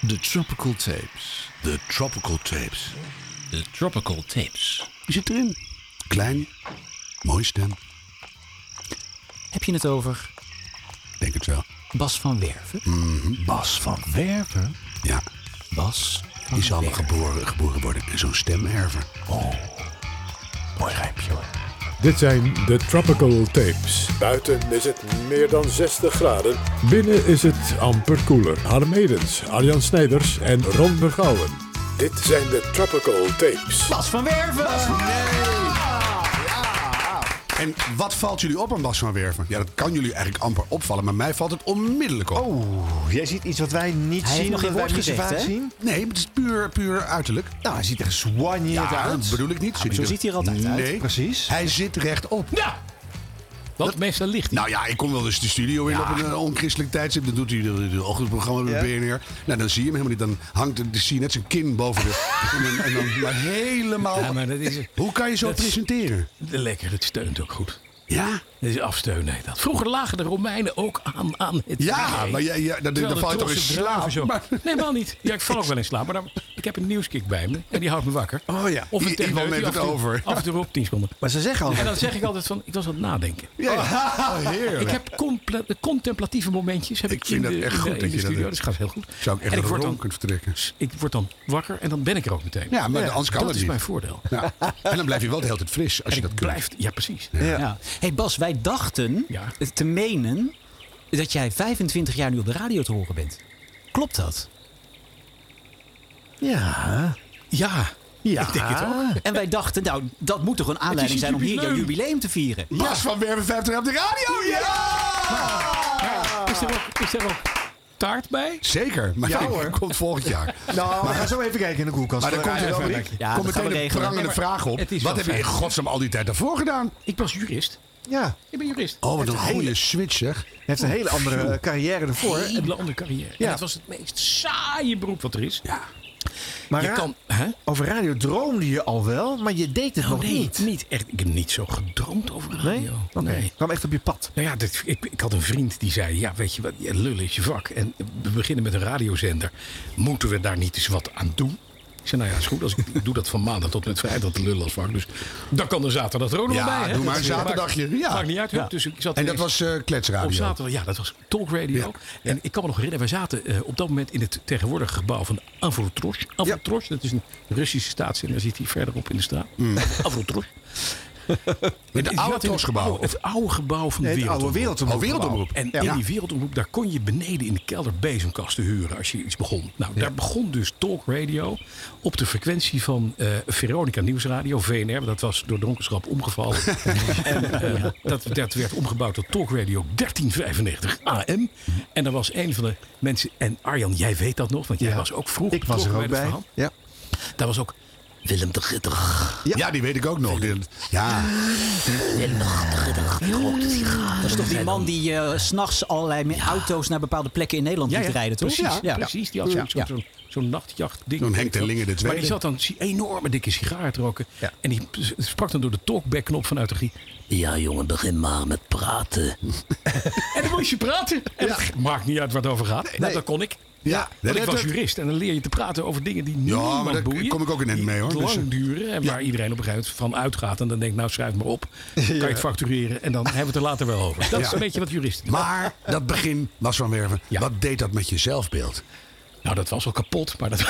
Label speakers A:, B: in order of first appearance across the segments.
A: De Tropical Tapes.
B: De Tropical Tapes.
C: De Tropical Tapes.
B: Wie zit erin? Klein, mooie stem.
C: Heb je het over
B: Denk het wel.
C: Bas van Werven?
A: Mhm. Bas van Werven?
B: Ja,
C: Bas van
B: die zal wel
C: Werven.
B: geboren, geboren worden in zo'n stemerven.
A: Mooi rijmpje hoor.
D: Dit zijn de Tropical Tapes.
E: Buiten is het meer dan 60 graden.
D: Binnen is het amper koeler. Harm Edens, Arjan Snijders en Ron Vergouwen.
E: Dit zijn de Tropical Tapes.
C: Bas van Werven!
B: En wat valt jullie op aan Bas van Werven? Ja, dat kan jullie eigenlijk amper opvallen, maar mij valt het onmiddellijk op.
F: Oeh, jij ziet iets wat wij niet
C: Hij heeft
F: zien,
C: nog
F: wat
C: geen
F: wij
C: woord
F: niet zo
C: gezegd,
F: vaak
C: hè?
F: zien.
B: Nee, maar het is puur, puur uiterlijk.
F: Nou, hij ziet er soigneerd uit.
B: dat bedoel ik niet.
C: maar zo ziet hij er altijd
B: nee.
C: uit.
F: Precies.
B: Hij zit rechtop.
C: Wat meestal ligt
B: Nou ja, ik kom wel eens de studio in op een eh, onchristelijk tijdstip. Dan doet hij de, de ochtendprogramma met
F: Ja.
B: BNR. Nou, dan zie je hem helemaal niet. Dan hangt de- dan zie je net zijn kin boven de... en dan, en dan maar helemaal...
A: Oh.
G: Ja, maar dat is-
B: Hoe kan je zo
G: dat is-
B: presenteren?
G: Lekker, het steunt ook goed.
B: Ja?
G: Dat is afsteunen. Dat. Vroeger lagen de Romeinen ook aan, aan het
B: Ja, maar jij, jij, dan, dan val je toch in slaap. Maar-
G: Nee, helemaal niet. Ja, ik val ook wel in slaap. Maar dan, ik heb een nieuwskick bij me en die houdt me wakker.
B: Oh ja,
G: Of
B: I-
G: een
B: iemand
G: techneut die
B: neemt het
G: af en toe-
B: over.
G: Af en toe op 10 seconden.
F: Maar ze zeggen altijd...
G: En dan zeg ik altijd van, ik was aan het nadenken.
B: Ja, ja. Oh, heerlijk.
G: Ik heb comple- contemplatieve momentjes. Heb
B: Ik
G: ik,
B: vind
G: in
B: dat
G: de,
B: echt
G: in de-
B: goed dat
G: in de
B: je dat
G: studio.
B: doet.
G: Dat gaat heel goed.
B: Zou ik echt
G: en ik
B: een
G: word,
B: rol
G: dan,
B: kunnen vertrekken.
G: ik word dan wakker en dan ben ik er ook meteen.
B: Ja, maar anders kan
G: dat
B: het
G: is
B: niet.
G: mijn voordeel.
B: Ja. En dan blijf je wel de hele tijd fris als je dat
G: Het
B: kunt.
G: blijft, ja precies.
F: Ja.
C: Ja. Hey Bas, wij dachten
G: Ja.
C: te menen dat jij 25 jaar nu op de radio te horen bent. Klopt dat?
F: Ja.
G: Ja,
F: Ja.
G: ik denk het ook.
C: En wij dachten, nou, dat moet toch een aanleiding zijn om hier jouw jubileum te vieren.
B: Bas van Werven 50 op de radio! Ja!
G: Is er ook, is er ook taart bij?
B: Zeker, maar
F: Ja,
B: die
F: hoor.
B: komt volgend jaar.
F: Nou, we gaan zo even kijken in de koelkast.
B: Maar dan
F: We
B: komt er
F: gaan
B: wel
F: even
B: meteen
F: kijken.
C: Ja, dat gaan we
B: een
C: regelen.
B: prangende vraag op.
G: het is
B: Wat
G: wel
B: heb je in
G: fijn.
B: godsnaam al die tijd daarvoor gedaan?
G: Ik was jurist.
F: Ja,
G: Ik ben jurist.
B: Oh, wat een
F: een
B: goede
F: hele-
B: switch, zeg.
F: hij heeft een hele andere eh, carrière ervoor.
G: Een hele andere carrière.
F: Ja.
G: En het was het meest saaie beroep wat er is.
F: Maar
G: je
F: ra-
G: kan... Oh, Hè?
B: Oh,
F: over radio droomde je al wel, maar je deed het nog niet.
G: Niet echt. Ik heb niet zo gedroomd over radio.
F: Nee? Oké,
G: Nee.
F: kwam echt op je pad.
G: Nou ja, dit, ik, ik had een vriend die zei... Ja, weet je wat, ja, lullen is je vak. En we beginnen met een radiozender. Moeten we daar niet eens wat aan doen? Ik zei, nou ja, is goed. Als ik, ik doe dat van maandag tot en met vrijdag te lullen als vak. Dus dan kan er zaterdag er ook nog
B: Ja,
G: bij. hè.
B: doe maar een
G: Dat maakt-
B: zaterdagje. Ja.
G: Maakt niet uit. hè. Dus ik zat
B: En dat
G: ineens-
B: was eh, kletsradio.
G: Op zaterdag, ja, dat was Talk Radio. En ik kan me nog herinneren, wij zaten eh, op dat moment in het tegenwoordige gebouw van Avrotros. Avrotros, dat is een Russische staatszender, zit hier verderop in de straat. Avrotros.
B: In het
G: Die
B: oude
G: zat in het
B: Trosgebouw.
G: oude- Het oude gebouw van
F: Nee,
G: de
F: het
G: wereld.
F: oude wereldomroep.
B: Oh, wereldomroep.
G: En
F: Ja.
G: in die wereldomroep, daar kon je beneden in de kelder bezemkasten huren als je iets begon. Nou, daar begon dus Talk Radio op de frequentie van eh, Veronica Nieuwsradio, VNR. want Dat was door dronkenschap omgevallen. en eh, dat, dat werd omgebouwd tot Talk Radio 1395 AM. En daar was een van de mensen, en Arjan, jij weet dat nog, want jij
F: Ja.
G: was ook vroeg
F: Ik was er
G: betrokken
F: ook
G: dit
F: bij.
G: verhaal.
F: Ja.
G: Daar was ook Willem de Gitter.
B: Ja. die weet ik ook nog. Die- Ja,
C: Dat is toch die man die eh, s s'nachts allerlei met auto's naar bepaalde plekken in Nederland liet rijden, toch?
G: Precies,
C: Ja.
G: precies. Die had zo'n zo'n-
C: Ja.
G: zo'n- zo'n nachtjachtding.
B: Zo'n Henk ten Linge de
G: Maar
B: tweede.
G: die zat dan een enorme dikke sigaar te roken.
F: Ja.
G: En die sprak dan door de talkback-knop vanuit de grie. Ja, jongen, begin maar met praten. en dan moest je praten. En het maakt niet uit waar het over gaat. Nou, dat kon ik.
B: ja.
G: Want ik
B: dat-
G: was jurist en dan leer je te praten over dingen die
B: Ja,
G: niemand
B: maar daar
G: boeien.
B: kom ik ook ineens
G: die
B: mee, hoor. Dus,
G: lang
B: eh,
G: duren en waar iedereen op een gegeven moment van uitgaat. En dan denkt, nou schrijf maar op. Dan kan je het factureren en dan hebben we het er later wel over. Dat is
B: Ja.
G: een beetje wat juristen doen.
B: Maar dat begin, Bas van Werven,
G: Ja.
B: wat deed dat met je zelfbeeld?
G: Nou, dat was al kapot, maar dat...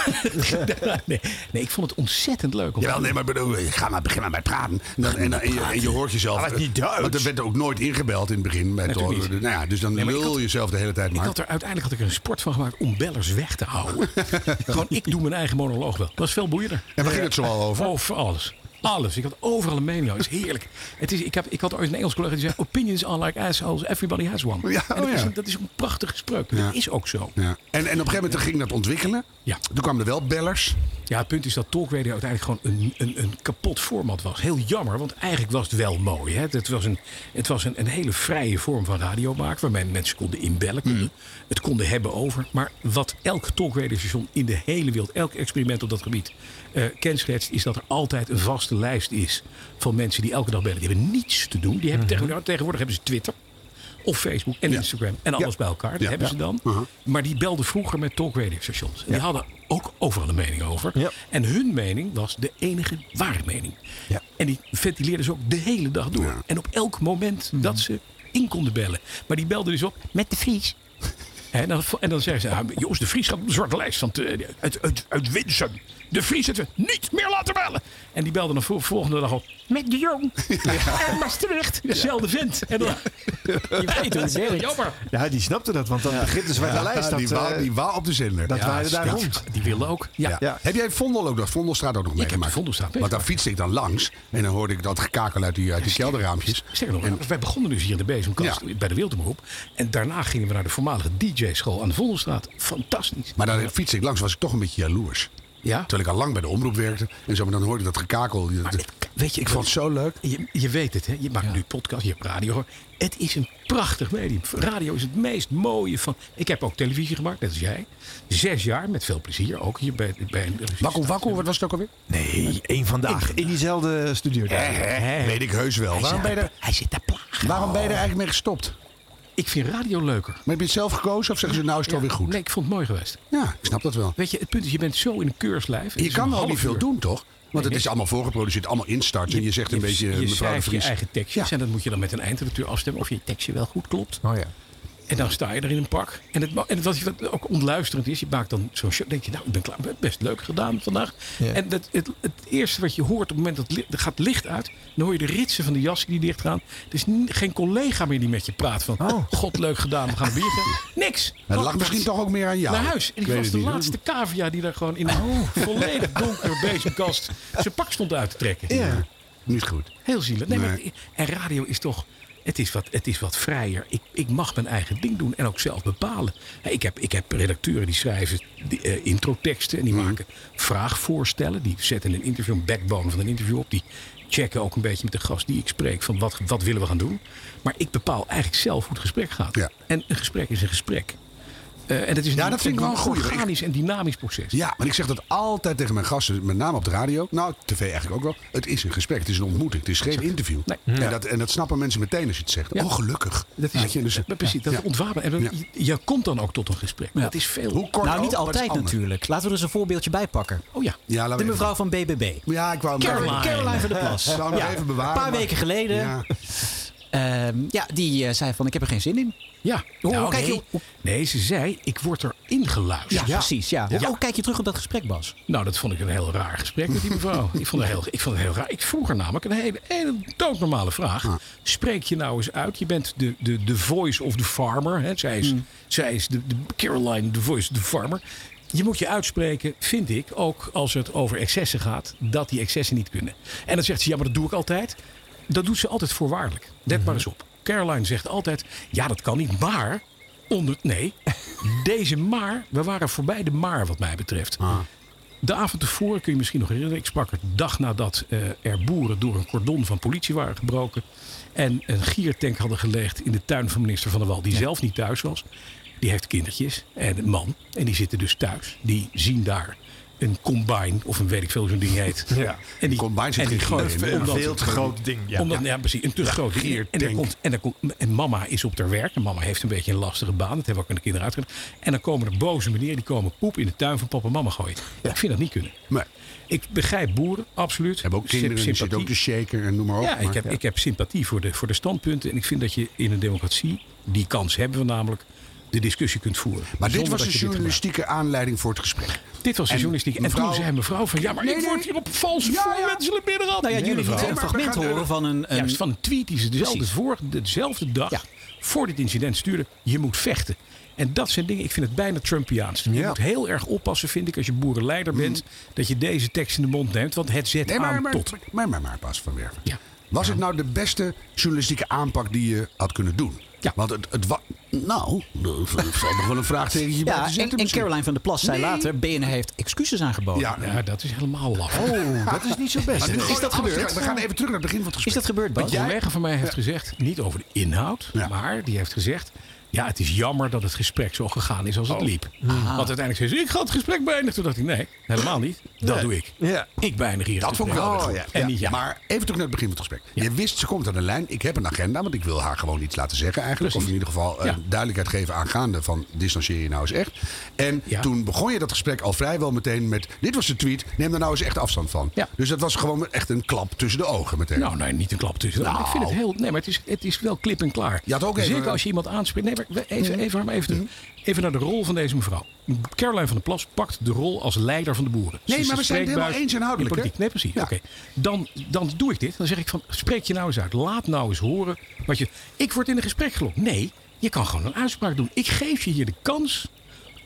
G: nee, nee, ik vond het ontzettend leuk om
B: Jawel, nee, maar bedoel, ga maar beginnen met praten. En, dan, en, dan- en je, en je hoort jezelf.
F: Maar het is niet
B: eh,
F: Duits.
B: Want er werd ook nooit ingebeld in het begin. Bij
G: Natuurlijk
B: het-
G: niet.
B: nou ja, dus dan
G: Nee, maar ik
B: lul
G: had-
B: jezelf de hele tijd
G: Ik
B: maar.
G: had er, uiteindelijk had ik er een sport van gemaakt om bellers weg te houden. Gewoon, ik doe mijn eigen monoloog wel. Dat is veel boeiender.
B: En waar ging het zoal over?
G: Over alles. Alles. Ik had overal een mening. over. Het is heerlijk. Het is, ik, heb, ik had ooit een Engels collega die zei... Opinions are like assholes. Everybody has one.
B: Ja,
G: en dat,
B: oh
G: is
B: ja.
G: een, dat is een prachtige spreuk.
B: Ja.
G: Dat is ook zo.
B: Ja. En, en op een gegeven moment ging dat ontwikkelen.
G: Ja.
B: Toen kwamen er wel bellers.
G: Ja, het punt is dat Talk Radio uiteindelijk gewoon een, een, een kapot format was. Heel jammer, want eigenlijk was het wel mooi. Hè? Het was, een, het was een, een hele vrije vorm van radio maken, waarmee mensen konden inbellen, konden, het konden hebben over. Maar wat elk Talk Radio station in de hele wereld, elk experiment op dat gebied eh kenschetst, is dat er altijd een vaste lijst is van mensen die elke dag bellen. Die hebben niets te doen. Die hebben tegenwoordig, tegenwoordig hebben ze Twitter. Of Facebook en
B: Ja.
G: Instagram en alles
B: Ja.
G: bij elkaar. Dat
B: Ja.
G: hebben
B: Ja.
G: ze dan.
B: Uh-huh.
G: Maar die belden vroeger met talkradiostations. En die hadden ook overal een mening over.
F: Ja.
G: En hun mening was de enige ware mening.
F: Ja.
G: En die ventileerden ze ook de hele dag door.
B: Ja. Mhm.
G: En op elk moment dat ze in konden bellen. Maar die belden dus op met de Vries. En dan, en dan zeggen ze, ah, Joost de Vries gaat op de zwarte lijst. Want, eh, uit, uit, uit Winsum. De Vries heeft ze niet meer laten bellen. En die belden dan vol- volgende dag op met de Jong. En Maastricht. Dezelfde vent. En dan,
C: Je weet hoe het Nou, werkt.
G: Jammer.
F: Ja, die snapte dat, want dat begint de zwarte lijst. Dat,
B: die, waar,
F: eh,
B: die waar op de zender.
F: dat
B: Ja.
F: waren daar
G: Ja,
F: rond.
G: Die willen ook. Ja.
B: Ja.
F: Ja.
B: Heb jij Vondel ook dat Vondelstraat ook nog meegemaakt?
G: de Vondelstraat
B: Want daar
G: meegemaakt.
B: fietste ik dan langs en dan hoorde ik dat gekakel uit die, uit die kelderraampjes.
G: Dus, Sterker nog, wij begonnen dus hier in de bezemkast
B: Ja.
G: bij de Wildemoep. En daarna gingen we naar de voormalige DJ-school aan de Vondelstraat. Fantastisch.
B: Maar daar fietste ik langs, was ik toch een beetje jaloers.
G: Ja.
B: Terwijl ik al lang bij de omroep werkte en zo, maar dan hoorde ik dat gekakel.
G: Maar het- weet je,
B: ik vond het zo leuk.
G: Je, je weet het, hè? je maakt nu podcast, je hebt radio. hoor. Het is een prachtig medium. Radio is het meest mooie van... Ik heb ook televisie gemaakt, net als jij. Zes jaar, met veel plezier, ook hier bij... bij een
B: Wakkel, wakkel, wat was het ook alweer?
F: Nee, één vandaag. In diezelfde studio. daar.
B: Weet ik heus wel. Waarom ben, je er,
G: Hij zit daar plagen.
B: waarom ben je er eigenlijk mee gestopt? Maar
G: Ik vind radio leuker.
B: heb je het zelf gekozen of zeggen ze nou is het alweer goed?
G: Nee, ik vond het mooi geweest.
B: Ja, ik snap dat wel.
G: Weet je, het punt is, je bent zo in een keurslijf. Het
B: Je
G: is
B: kan
G: een
B: wel
G: half
B: niet veel
G: uur.
B: doen, toch? Want het
G: nee.
B: is allemaal voorgeproduceerd, allemaal instarts. En je zegt een beetje,
G: je
B: mevrouw de
G: schrijft je
B: Vries.
G: eigen tekstjes
B: Ja.
G: en dat moet je dan met een eindredacteur afstemmen of je tekstje wel goed klopt.
F: Oh ja.
G: En dan sta je er in een pak. En, het, ma- en wat, wat ook ontluisterend is, je maakt dan zo'n show. denk je, nou, ik ben klaar. Best leuk gedaan vandaag.
F: Ja.
G: En dat, het, het eerste wat je hoort op het moment dat het li- er gaat licht uit... dan hoor je de ritsen van de jassen die dicht gaan. Er is ni- geen collega meer die met je praat van... "Oh, God, leuk gedaan, we gaan een bier drinken." Niks.
B: Oh. Het lag
G: Wat-
B: misschien toch ook meer aan jou.
G: naar huis. En
B: Ik
G: ik,
B: weet
G: was
B: het
G: de
B: niet, hoor. Oh.
G: laatste cavia die daar gewoon in een volledig donkere bezemkast... zijn pak stond uit te trekken.
F: Ja.
B: Niet goed.
G: Heel zielig. Nee,
B: Nee.
G: Maar, eh, en radio is toch. Het is wat, het is wat vrijer. Ik, ik mag mijn eigen ding doen en ook zelf bepalen. Hè, Ik heb, ik heb redacteuren die schrijven die, eh, introteksten en die
B: Mhm.
G: maken vraagvoorstellen. Die zetten een interview, een backbone van een interview op. Die checken ook een beetje met de gast die ik spreek van wat, wat willen we gaan doen. Maar ik bepaal eigenlijk zelf hoe het gesprek gaat.
B: Ja.
G: En een gesprek is een gesprek. Eh, en het is
B: Ja,
G: een-
B: dat vind ik wel een goeie.
G: organisch en dynamisch proces.
B: Ja, maar ik zeg dat altijd tegen mijn gasten, met name op de radio. Nou, tv eigenlijk ook wel. Het is een gesprek, het is een ontmoeting, het is geen interview.
G: Nee.
B: En, dat, en dat snappen mensen meteen als je het zegt.
G: Ja.
B: Oh, gelukkig.
G: Dat is,
B: Weet je, dus-
G: eh, precies, dat
B: Ja.
G: ontwapen. En dat-
B: Ja.
G: je, je komt dan ook tot een gesprek. Dat is veel.
B: Hoe kort
C: Nou, niet
B: ook, maar het is
C: altijd
B: anders.
C: natuurlijk. Laten we er eens een voorbeeldje bij pakken.
G: Oh ja.
B: Ja, laten
C: De
B: we even-
C: mevrouw van BBB.
B: Ja, ik wou hem
C: Caroline,
B: even-
C: Caroline van der Plas.
B: Ik zou hem nog even bewaren.
C: Een paar
B: maar-
C: weken geleden.
B: Ja.
C: ehm, ja, die eh, zei van ik heb er geen zin in.
G: Ja.
C: Nou, kijk,
G: nee.
C: joh.
G: nee, ze zei, ik word er ingeluisterd.
C: precies. Ja.
G: Ja.
C: Oh, kijk je terug op dat gesprek, Bas?
G: Nou, dat vond ik een heel raar gesprek met die mevrouw. ik, vond het heel, ik vond het heel raar. Ik vroeg haar namelijk een hele, hele doodnormale vraag. Spreek je nou eens uit? Je bent de, de, de voice of the farmer. Hè? Zij is, zij is de, de Caroline, de voice of the farmer. Je moet je uitspreken, vind ik, ook als het over excessen gaat, dat die excessen niet kunnen. En dan zegt ze, ja, maar dat doe ik altijd. Dat doet ze altijd voorwaardelijk. Let maar eens op. Caroline zegt altijd, ja, dat kan niet, maar onder. Nee, deze maar. We waren voorbij de maar, wat mij betreft. De avond tevoren kun je misschien nog herinneren. Ik sprak er dag nadat eh, er boeren door een cordon van politie waren gebroken. En een giertank hadden gelegd in de tuin van minister Van der Wal. Die zelf niet thuis was. Die heeft kindertjes en een man. En die zitten dus thuis. Die zien daar een combine of een weet ik veel zo'n ding heet.
F: Ja.
G: En die,
B: Combine zit
G: en die
B: geen
G: gooit-
B: gier in, hè?
F: Een
G: omdat-
F: veel te groot ding. Ja.
G: omdat, ja. precies. Een te groot dier. En, er
B: giertank.
G: komt, en, er komt, en mama is op haar werk. En mama heeft een beetje een lastige baan. Dat hebben we ook aan de kinderen uitgelegd. En dan komen er boze meneer. Die komen poep in de tuin van papa en mama gooien. Ik vind dat niet kunnen.
B: Maar
G: Ik begrijp boeren, absoluut.
B: hebben ook
G: Sym-
B: kinderen, die zitten ook de shaker en noem maar op.
G: ja, ik
B: maar-
G: heb, ik heb sympathie voor de, voor de standpunten. En ik vind dat je in een democratie, die kans hebben we namelijk, de discussie kunt voeren.
B: Maar dit was
G: Zonder dat
B: de
G: je gebruikt.
B: journalistieke aanleidning voor het gesprek.
G: Dit was de
B: En
G: journalistiek. En
B: mevrouw-
G: toen zei mevrouw van, ja, maar ik word hier op
B: Ja,
G: valse
B: ja.
G: voorwendselen binnengehaald.
C: Nou ja,
G: Nee,
C: jullie
G: mevrouw.
C: lieten een
B: maar we
C: fragment
B: gaan-
C: horen van een,
B: Ehm,
C: een
G: Juist, van een tweet die ze dezelfde,
C: Precies.
G: voor, dezelfde dag
C: Ja.
G: voor dit incident stuurde. Je moet vechten. En dat zijn dingen, ik vind het bijna Trumpiaans. Je
B: Ja. Hmm.
G: moet heel erg oppassen, vind ik, als je boerenleider bent... dat je deze tekst in de mond neemt, want het zet
B: Nee, maar,
G: aan
B: maar,
G: tot.
B: maar, maar, maar, Bas van Werven.
G: Ja.
B: Was het nou de beste journalistieke aanpak die je had kunnen doen?
G: Ja.
B: Want het, het was... Nou, er valt nog wel een vraagtekentje bij te
C: Ja, en,
B: zetten
C: en
B: misschien.
C: Caroline van der Plas zei
B: Nee.
C: later... BNR heeft excuses aangeboden.
B: Ja,
G: Ja, dat is helemaal laf.
F: Oh, dat is niet zo best.
B: maar nu
F: hè?
B: is dat gebeurd? We gaan even terug naar het begin van het gesprek.
C: Is dat gebeurd, Bas?
G: Een collega van mij heeft gezegd, niet over de inhoud,
B: Ja.
G: maar die heeft gezegd... Ja, het is jammer dat het gesprek zo gegaan is als
B: Oh.
G: het liep.
B: Ah.
G: Want uiteindelijk zei ze, ik ga het gesprek beëindigen. Toen dacht ik, nee, helemaal niet. Dat doe ik.
F: Ja.
G: Ik beëindig hier
B: Dat
G: het
B: vond ik
G: gesprek.
B: wel weer
F: Oh,
B: goed.
F: ja.
G: En niet ja.
B: Maar even terug naar het begin van het gesprek. Je wist, ze komt aan de lijn. Ik heb een agenda, want ik wil haar gewoon iets laten zeggen eigenlijk. Of in ieder geval eh,
G: Ja.
B: duidelijkheid geven aangaande van distancieer je nou eens echt. En
G: Ja.
B: toen begon je dat gesprek al vrijwel meteen met... dit was de tweet, neem daar nou eens echt afstand van.
G: Ja.
B: Dus dat was gewoon echt een klap tussen de ogen meteen.
G: Nou, nee, niet een klap tussen. Maar Ik vind het heel. Nee, maar het is, het is wel klip en klaar.
B: Je had Nou. ook even- Mhm.
G: Zeker als je iemand aanspreekt. Nee, maar we- even, even, maar even, de- even naar de rol van deze mevrouw. Caroline van der Plas pakt de rol als leider van de boeren. Ze
B: maar
G: is de
B: we zijn het helemaal
G: spreekbuis
B: eens inhoudelijk,
G: in politiek.
B: hè?
G: Nee, precies.
B: Ja.
G: Oké. Dan, dan doe ik dit. Dan zeg ik van, spreek je nou eens uit. Laat nou eens horen wat je... Ik word in een gesprek gelokt. Nee, je kan gewoon een uitspraak doen. Ik geef je hier de kans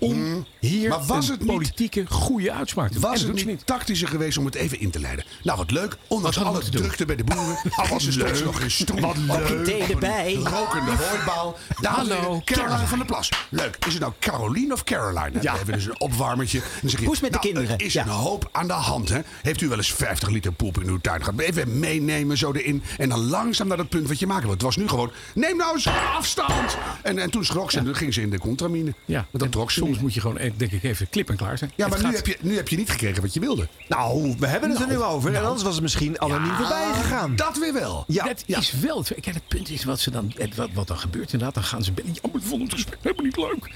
G: om
B: Mhm.
G: hier
B: Maar was
G: een
B: het niet-
G: politieke goede uitspraak te doen. En
B: Was
G: dat
B: het
G: doet
B: niet,
G: ze
B: tactischer geweest om het even in te leiden? Nou, wat leuk. Ondanks
G: Wat hadden we
B: alle
G: te doen?
B: drukte bij de boeren. Alles is straks nog geen stroom. Wat
C: thee erbij.
B: Rokende hooibaal. Dames en
G: Hallo,
B: heren, Caroline
G: Caroline.
B: van der Plas. Leuk. Is het nou Caroline of Caroline? Ja. We hebben dus een opwarmertje. Dan zeg je,
C: Poes met de
B: nou,
C: kinderen.
B: Er is
C: Ja.
B: een hoop aan de hand. Hè? Heeft u wel eens 50 liter poep in uw tuin gehad? Even meenemen zo erin. En dan langzaam naar dat punt wat je maken wil. Het was nu gewoon, neem nou eens afstand. En, en toen schrok ze en toen ging ze in de contramine.
G: Ja,
B: Want dat
G: en
B: trok ze
G: soms
B: niet.
G: moet je gewoon, eh, denk ik, even klip en klaar zijn.
B: Ja,
G: Het
B: maar nu
G: gaat-
B: heb, je, nu heb je niet gekregen wat je wilde.
F: Nou, we hebben het er nu over. En anders was het misschien anoniem voorbij gegaan.
B: ah, Dat weer wel.
F: Ja.
G: dat is wel. Kijk, het punt is wat, ze dan, het- wat, wat dan gebeurt. Inderdaad, dan gaan ze bellen. Ja, maar ik vond het gesprek helemaal niet leuk.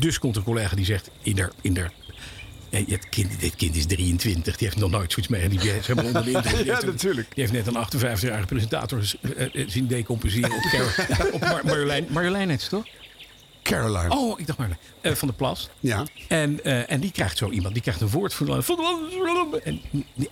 G: Dus komt een collega die zegt: in der, in der, eh, het kind, dit kind is 23, die heeft nog nooit zoiets mee. Die is helemaal onder de indruk. Die
F: Ja,
G: heeft een-
F: natuurlijk.
G: Die heeft net een 58-jarige presentator z- eh, eh, zien decomposeren op, Car- op Mar- Marjolein. Marjolein heet ze toch?
B: Caroline.
G: Oh, ik dacht Marjolein. Eh, van de Plas.
B: Ja.
G: En, eh, en die krijgt zo iemand, die krijgt een woord van En,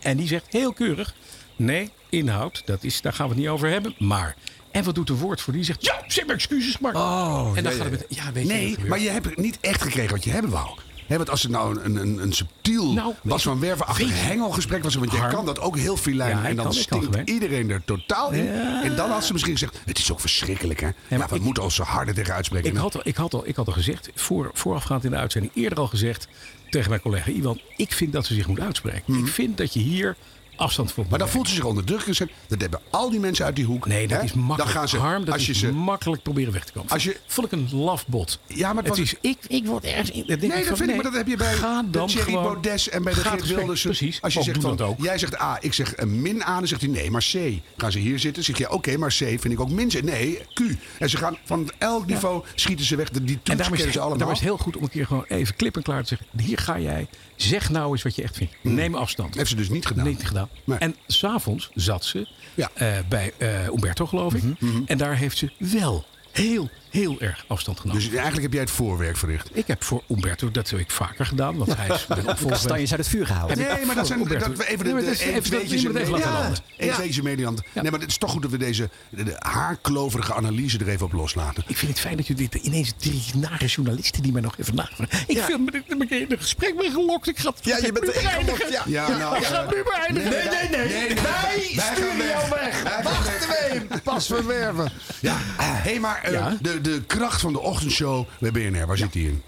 G: en die zegt heel keurig: nee, inhoud, dat is, daar gaan we het niet over hebben. Maar. En wat doet de woordvoerder? Die zegt: ja, zeg maar excuses, maar. en dan gaat het met. Ja, weet je wat
B: Nee,
G: gebeurt?
B: maar je hebt niet echt gekregen wat je hebben wou. Hè, want als het nou een, een, een subtiel
G: Nou,
B: Bas van Werven achter
G: weet je-
B: hengelgesprek was... want jij
G: Harm.
B: kan dat ook heel filijn
G: Ja, ik
B: en dan
G: kan, ik kan
B: stinkt
G: gewoon.
B: iedereen er totaal in. En dan had ze misschien gezegd... het is ook verschrikkelijk, hè? ja,
G: maar
B: we
G: ik-
B: moeten ons zo harder tegen uitspreken.
G: Ik had, al, ik, had al, ik had al gezegd, voor, voorafgaand in de uitzending, eerder al gezegd tegen mijn collega Iwan: ik vind dat ze zich moet uitspreken. Ik vind dat je hier afstand voor moet
B: maar dan
G: nemen.
B: voelt ze zich onder druk gezet. Dat hebben al die mensen uit die hoek.
G: Nee, dat
B: hè?
G: is makkelijk.
B: Dan gaan ze,
G: Harm, dat
B: als je
G: is
B: ze
G: makkelijk proberen weg te komen.
B: Als je-
G: Vond ik een lafbot.
B: Ja, maar het
G: het
B: was-
G: is, ik, ik word ergens... in- denk
B: Nee,
G: van,
B: dat vind ik, maar dat heb je bij
G: ga dan
B: Thierry
G: gewoon-
B: Baudet en bij de
G: ga het
B: Geert
G: gesprek-
B: Wilders.
G: Precies,
B: Als je
G: of
B: zegt
G: doe
B: van,
G: dat ook.
B: jij zegt A, ik zeg een min aan, dan zegt hij nee, maar C. Gaan ze hier zitten, zeg je oké, maar C vind ik ook min. C. Nee, Q. En ze gaan van elk niveau schieten ze weg. Die
G: En
B: toetsen
G: daarom is,
B: kennen
G: het,
B: ze allemaal.
G: daarom is het heel goed om een keer gewoon even klip en klaar te zeggen. Hier ga jij. Zeg nou eens wat je echt vindt. Neem afstand.
B: Heeft ze dus niet Hmm. gedaan.
G: Nee, niet gedaan.
B: Nee.
G: En s'avonds zat ze
B: Ja. Mhm.
G: eh, bij eh Umberto, geloof ik. En daar heeft ze wel heel, heel erg afstand genomen.
B: Dus eigenlijk heb jij het voorwerk verricht.
G: ik heb voor Umberto, dat heb ik vaker gedaan. Want hij is mijn opvolger.
C: Kastanjes uit het vuur gehouden.
G: Heb ik
B: Nee, maar dat zijn
G: Roberto.
B: dat we even
G: Nee,
B: de,
G: maar
B: de,
G: dat is-
B: even
G: even- dat
B: weetjes in
G: moet je even laten
B: Nederland.
G: landen.
B: Even weetjes in Nederland. Nee, maar het is toch goed dat we deze de, de haarkloverige analyse er even op loslaten.
G: Ik vind het fijn dat jullie dit ineens drie nare journalisten die mij nog even navragen. Ik vind me dit een keer in een gesprek ben gelokt. Ik ga het
F: Ja, je
G: gesprek
F: bent
G: nu
F: erin gelokt,
G: beëindigen.
F: ja.
B: Ja, nou,
G: ik ga het
B: eh,
G: nu beëindigen.
B: nee, nee, nee.
F: Wij sturen jou weg. Wacht even. Pas verwerven.
B: Ja, hé, hey, maar eh,
G: Ja.
B: de, de kracht van de ochtendshow bij BNR, waar zit die in?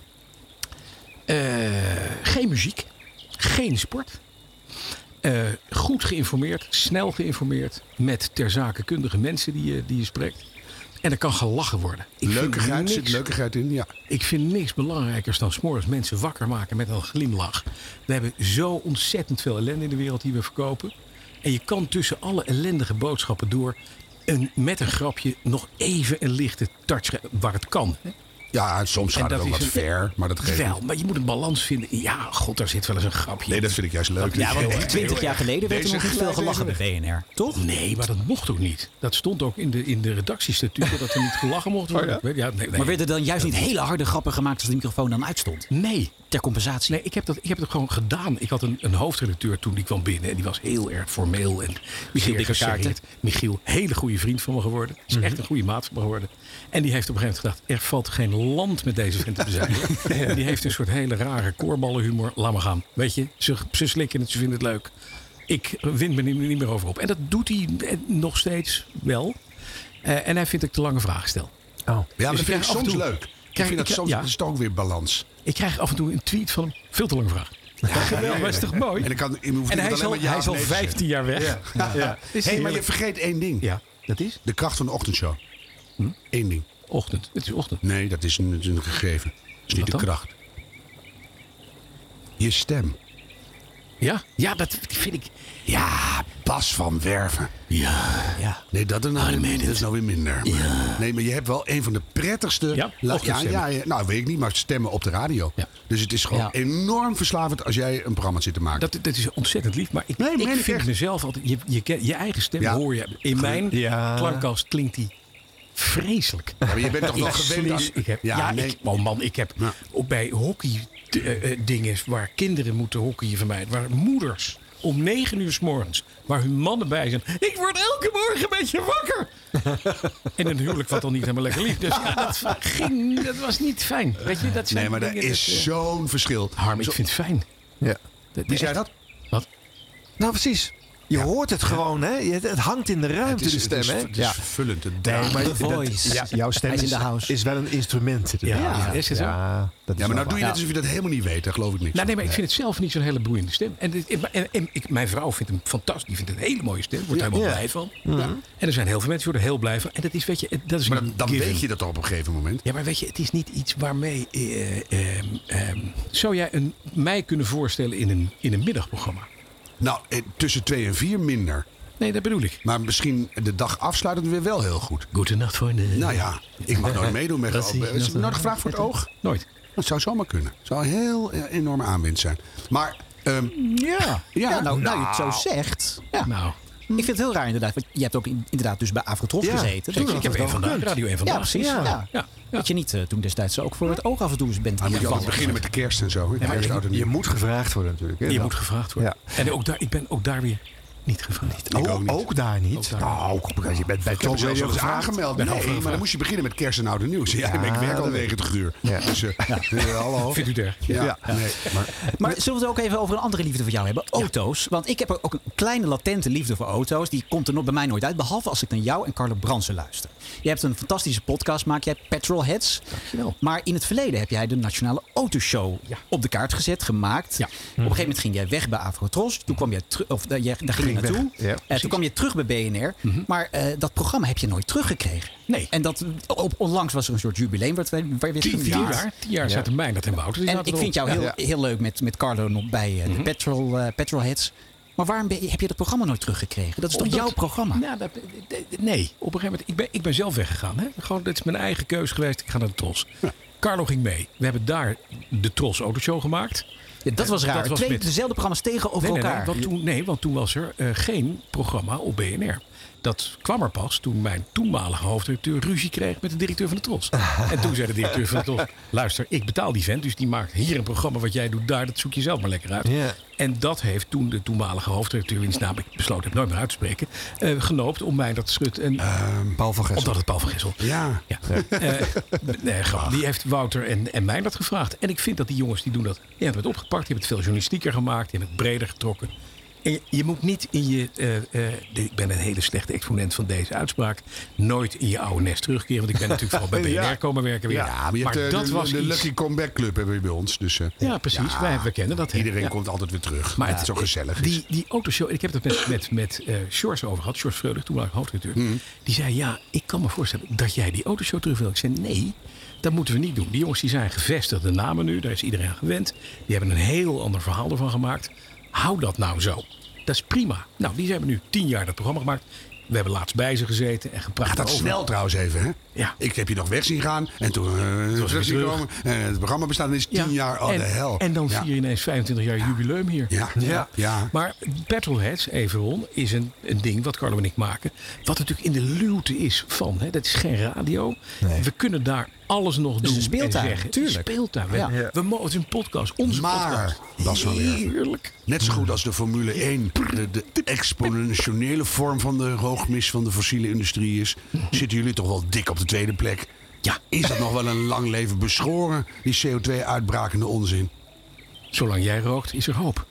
G: Eh, geen muziek, geen sport. Eh, goed geïnformeerd, snel geïnformeerd. Met ter zake kundige mensen die je, die je spreekt. En er kan gelachen worden. Ik vind
B: Leukigheid,
G: niks-
B: zit leukigheid in? Ja.
G: Ik vind niks belangrijkers dan s'morgens mensen wakker maken met een glimlach. We hebben zo ontzettend veel ellende in de wereld die we verkopen. En je kan tussen alle ellendige boodschappen door een, met een grapje nog even een lichte touch ge- waar het kan. hè.
B: Ja, soms gaat
G: dat
B: het wel
G: is
B: wat
G: een-
B: ver, maar dat geeft
G: Wel,
B: niet.
G: maar je moet een balans vinden. Ja, god, daar zit wel eens een grapje.
B: Nee,
G: in.
B: dat vind ik juist leuk.
C: Ja,
B: Heel
C: want
B: erg.
C: 20 jaar geleden werd er
B: Deze
C: nog niet veel gelachen bij BNR. Toch?
G: Nee, maar dat mocht ook niet. Dat stond ook in de, in de redactiestatuut dat er niet gelachen
B: Oh
G: mocht worden. Ik weet- ja, nee, nee.
C: Maar werden dan juist niet hele harde grappen gemaakt als de microfoon dan uitstond?
G: nee.
C: Ter compensatie.
G: Nee, ik heb, dat, ik heb dat gewoon gedaan. Ik had een, een hoofdredacteur toen die kwam binnen. En die was heel erg formeel en Michiel
C: Dikke Kaarten.
G: Michiel, hele goede vriend van me geworden. Is echt een goede maat van me geworden. En die heeft op een gegeven moment gedacht... er valt geen land met deze vent te zijn. die heeft een soort hele rare koorballenhumor. Laat maar gaan. Weet je, ze, ze slikken het, ze vinden het leuk. Ik win me niet, niet meer over op. En dat doet hij eh, nog steeds wel. Eh, en hij vindt dat ik te lange vragen stel.
B: Ja, maar
G: Dus
B: dat
G: ik
B: vind ik
G: krijg af en
B: soms
G: toe-
B: leuk. Ik
G: krijg-
B: vind dat
G: ik-
B: soms,
G: ja.
B: dat is toch ook weer balans.
G: Ik krijg af en toe een tweet van hem. Veel te lange vraag. Ja, geweldig, maar is toch mooi?
B: En, dan kan, je hoeft
G: En
B: iemand
G: hij
B: alleen
G: is al,
B: maar ja
G: hij
B: of
G: is al
B: nee te zeggen.
G: 15 jaar weg. Ja.
B: Hé, maar je vergeet één ding.
G: dat is? Hm?
B: De kracht van de ochtendshow. Eén ding.
G: ochtend. Het is ochtend.
B: Nee, dat is een, dat is een gegeven. Dat is niet
G: Wat
B: de
G: dan?
B: kracht. Je stem.
G: Ja, ja dat vind ik.
B: Ja, Bas van Werven.
G: Ja.
C: Ja.
B: Nee, dat, is nou,
G: meen
B: dat is nou weer minder. Maar- Nee, maar je hebt wel een van de prettigste...
G: Ja,
B: La- ja,
G: ochtendstemmen.
B: ja, ja, nou weet ik niet, maar stemmen op de radio.
G: Ja.
B: Dus het is gewoon
C: Ja.
B: enorm verslavend als jij een programma zit te maken.
G: Dat, dat is ontzettend lief, maar ik,
B: Nee, meen
G: ik
B: ik
G: vind
B: echt.
G: mezelf altijd... Je, je, ken- je eigen stem
B: Ja.
G: hoor je. In mijn
F: Ja.
G: klankkast klinkt die vreselijk.
B: Ja, maar je bent toch wel
G: Ik
B: gewend aan...
G: slies, ik heb, ja,
B: ja, nee.
G: ik, oh man, ik heb
B: Ja.
G: ook bij hockey eh, eh, dingen waar kinderen moeten hockeyen van mij. Waar moeders om negen uur s morgens, waar hun mannen bij zijn. Ik word elke morgen een beetje wakker. en een huwelijk wat dan niet helemaal lekker liep. Dus ja, dat, ging, dat was niet fijn. Weet je, dat zijn
B: nee, maar daar
G: dingen
B: is
G: dat, eh,
B: zo'n verschil.
G: Harm, ik
B: Zo-
G: vind het fijn.
F: Ja.
G: Dat-
B: Wie zei
G: echt-
B: dat?
G: Wat?
F: Nou, precies. Je hoort het gewoon, hè? Je- Het hangt in de ruimte, de stem,
B: het is,
F: hè?
B: Het is vervullend. Het draagt.
F: maar
C: The
F: dat-
C: Voice.
F: ja, jouw stem
C: Hij is
F: is,
C: in de house.
F: is wel een instrument. inderdaad.
G: Ja, is het zo?
F: Ja, dat is
B: ja, maar nou
F: wel
B: doe je net alsof je dat helemaal niet weet. Daar geloof ik niks
G: Nou,
B: van.
G: nee, maar ik vind het zelf niet zo'n hele boeiende stem. En, dit- en, en, en ik, mijn vrouw vindt hem fantastisch. Die vindt het een hele mooie stem. Wordt er helemaal
F: Ja.
G: blij van. En er zijn heel veel mensen die worden heel blij van. En dat is, weet je, het- dat is
B: Maar
G: een
B: dan, dan
G: given.
B: weet je dat al op een gegeven moment.
G: Ja, maar weet je, het is niet iets waarmee... eh, ehm, ehm, zou jij een, mij kunnen voorstellen in een, in een middagprogramma?
B: Nou, eh, tussen twee en vier minder.
G: Nee, dat bedoel ik.
B: Maar misschien de dag afsluitend weer wel heel goed.
G: Goedenacht, vrienden.
B: Nou ja, ik mag nooit meedoen met
G: Dat zie ik
B: Is
G: nog
B: er nooit gevraagd voor het oog?
G: Nooit.
B: Dat zou zomaar kunnen. zou een heel eh, enorme aanwinst zijn. Maar, ehm,
C: Ja.
B: Ja,
C: nou, nou, je het
B: nou.
C: zo zegt. Ja.
G: Nou,
C: Ik vind het heel raar inderdaad. Want je hebt ook in- inderdaad dus bij Afrotrof
F: Ja,
C: gezeten.
G: ik, ik
C: Dus-
G: heb één vandaag. Radio één vandaag.
C: Ja, precies.
F: Ja.
C: Ja.
G: Ja.
C: Dat je niet eh, toen destijds ook voor het oog af en toe eens bent
B: dan moet je altijd
C: ingevallen.
B: beginnen met de kerst en zo. hè?
G: maar
B: Kerst,
G: je-
B: oud en nieuw.
F: Je moet gevraagd worden natuurlijk. Hè?
G: Je
F: Dan-
G: moet gevraagd worden. En ook daar, ik ben ook daar weer niet gevraagd.
B: Ik ook
F: ook,
B: niet.
F: ook daar niet.
G: daar
F: nou, kom op, je bent bij
B: Ik heb
F: Talk
B: er zelfs
F: Radio
B: wel eens
F: gevraagd.
B: aangemeld.
G: Ben
B: Nee,
G: overgevraagd.
B: maar dan moest je beginnen met kerst en oud en nieuw. Ja, maar ik werk al
F: dat weet
B: tegen
F: ik.
B: het uur.
F: Ja.
B: Dus, eh, eh, hallo.
G: Vindt u daar?
B: Ja,
F: Ja.
B: nee. Maar,
C: Maar zullen we het ook even over een andere liefde van jou hebben? Auto's. Want ik heb ook een kleine latente liefde voor auto's. Die komt er nog bij mij nooit uit. Behalve als ik naar jou en Carlo Bransen luister. Je hebt een fantastische podcast, maak jij Petrolheads.
G: Dankjewel.
C: Maar in het verleden heb jij de Nationale Autoshow
G: Ja.
C: op de kaart gezet, gemaakt.
G: Ja.
C: Op een gegeven moment ging jij weg bij Afrotros. Toen kwam jij terug, of eh, jij- daar ging je
F: Ging weg,
C: naartoe.
F: ja,
C: Eh,
F: precies.
C: toen kwam je terug bij BNR. Maar eh, dat programma heb je nooit teruggekregen.
G: Mhm. Nee.
C: En dat, op, onlangs was er een soort jubileum. Waar, het- waar weer
G: Tien
C: gevierd.
G: jaar. Tien jaar zaten mij dat en Wouter. die
C: En
G: zaten
C: ik vind
G: Dus erop. Mhm.
C: jou heel, heel leuk met, met Carlo nog bij eh, de petrol, eh, Petrolheads. Maar waarom ben je- heb je dat programma nooit teruggekregen? Dat is toch
G: Omdat-
C: jouw programma?
G: Nou, dat- d- d- nee, op een gegeven moment. Ik ben, ik ben zelf weggegaan. Hè? Gewoon, dat is mijn eigen keus geweest. Ik ga naar de Tros. Carlo ging mee. We hebben daar de Tros Autoshow gemaakt.
C: Ja, dat was raar.
G: dat was
C: Twee
G: met-
C: dezelfde programma's tegenover
G: Nee, nee, nee,
C: elkaar.
G: want toen, nee, want toen was er eh, geen programma op BNR. Dat kwam er pas toen mijn toenmalige hoofddirecteur ruzie kreeg met de directeur van de Tros. En toen zei de directeur van de Tros: Luister, ik betaal die vent, dus die maakt hier een programma wat jij doet daar, dat zoek je zelf maar lekker uit.
F: Ja.
G: En dat heeft toen de toenmalige hoofddirecteur, wiens naam ik besloten heb nooit meer uit te spreken, eh, genoopt om mij dat schut. En,
F: Paul van Gessel.
G: Omdat het Paul van Gessel.
B: ja. Ah.
G: Ja. Eh, nee, grap. Die heeft Wouter en, en mij dat gevraagd. En ik vind dat die jongens die doen dat. Die hebben het opgepakt, die hebben het veel journalistieker gemaakt, die hebben het breder getrokken. En je- je moet niet in je. eh, eh, dit- ik ben een hele slechte exponent van deze uitspraak. Nooit in je oude nest terugkeren. Want ik ben natuurlijk vooral bij BNR
B: Ja.
G: komen werken weer.
B: Ja, maar, je hebt, eh,
G: dat
B: de,
G: was
B: de
G: iets-
B: Lucky Comeback Club hebben we bij ons. Dus, eh,
G: Ja, precies.
B: ja,
G: Wij, we kennen dat. hè.
B: Iedereen
G: Ja.
B: komt altijd weer terug.
G: Maar
B: Maar het
G: het-
B: is zo gezellig. is.
G: Die, die autoshow, ik heb het met, met, met eh George over gehad, George Freulich, toen was ik hoofdredacteur.
B: Hmm.
G: Die zei, ja, ik kan me voorstellen dat jij die autoshow terug wil. Ik zei, nee, dat moeten we niet doen. Die jongens die zijn gevestigde namen nu, daar is iedereen aan gewend. Die hebben een heel ander verhaal ervan gemaakt. Hou dat nou zo. Dat is prima. Nou, die hebben nu tien jaar dat programma gemaakt. We hebben laatst bij ze gezeten en gepraat
B: Gaat dat
G: over.
B: snel trouwens even, hè?
G: Ja.
B: Ik heb je nog weg zien gaan en toen eh, terug zien
G: terug.
B: komen. En het programma bestaat ineens
G: Ja.
B: tien jaar. Oh,
G: en,
B: de hel.
G: En dan
B: ja.
G: vier je ineens 25 jaar jubileum hier.
B: Ja. Ja. ja.
G: Maar Petrolheads, Everon, is een, een ding wat Carlo en ik maken. Wat natuurlijk in de luwte is van. Hè, dat is geen radio. We kunnen daar alles nog doen.
C: een speeltuin,
G: en zeggen.
C: tuurlijk.
G: Een speeltuin. We,
C: Ja.
G: we, mogen- het is een podcast. Onze
B: Maar, Bas
G: podcast.
B: van Werven.
G: Heerlijk.
B: Net zo goed als de Formule 1 de, de exponentiële vorm van de hoogmis van de fossiele industrie is, zitten jullie toch wel dik op de tweede plek.
G: Ja.
B: Is dat nog wel een lang leven beschoren, die CO2-uitbrakende onzin?
G: Zolang jij rookt, is er hoop.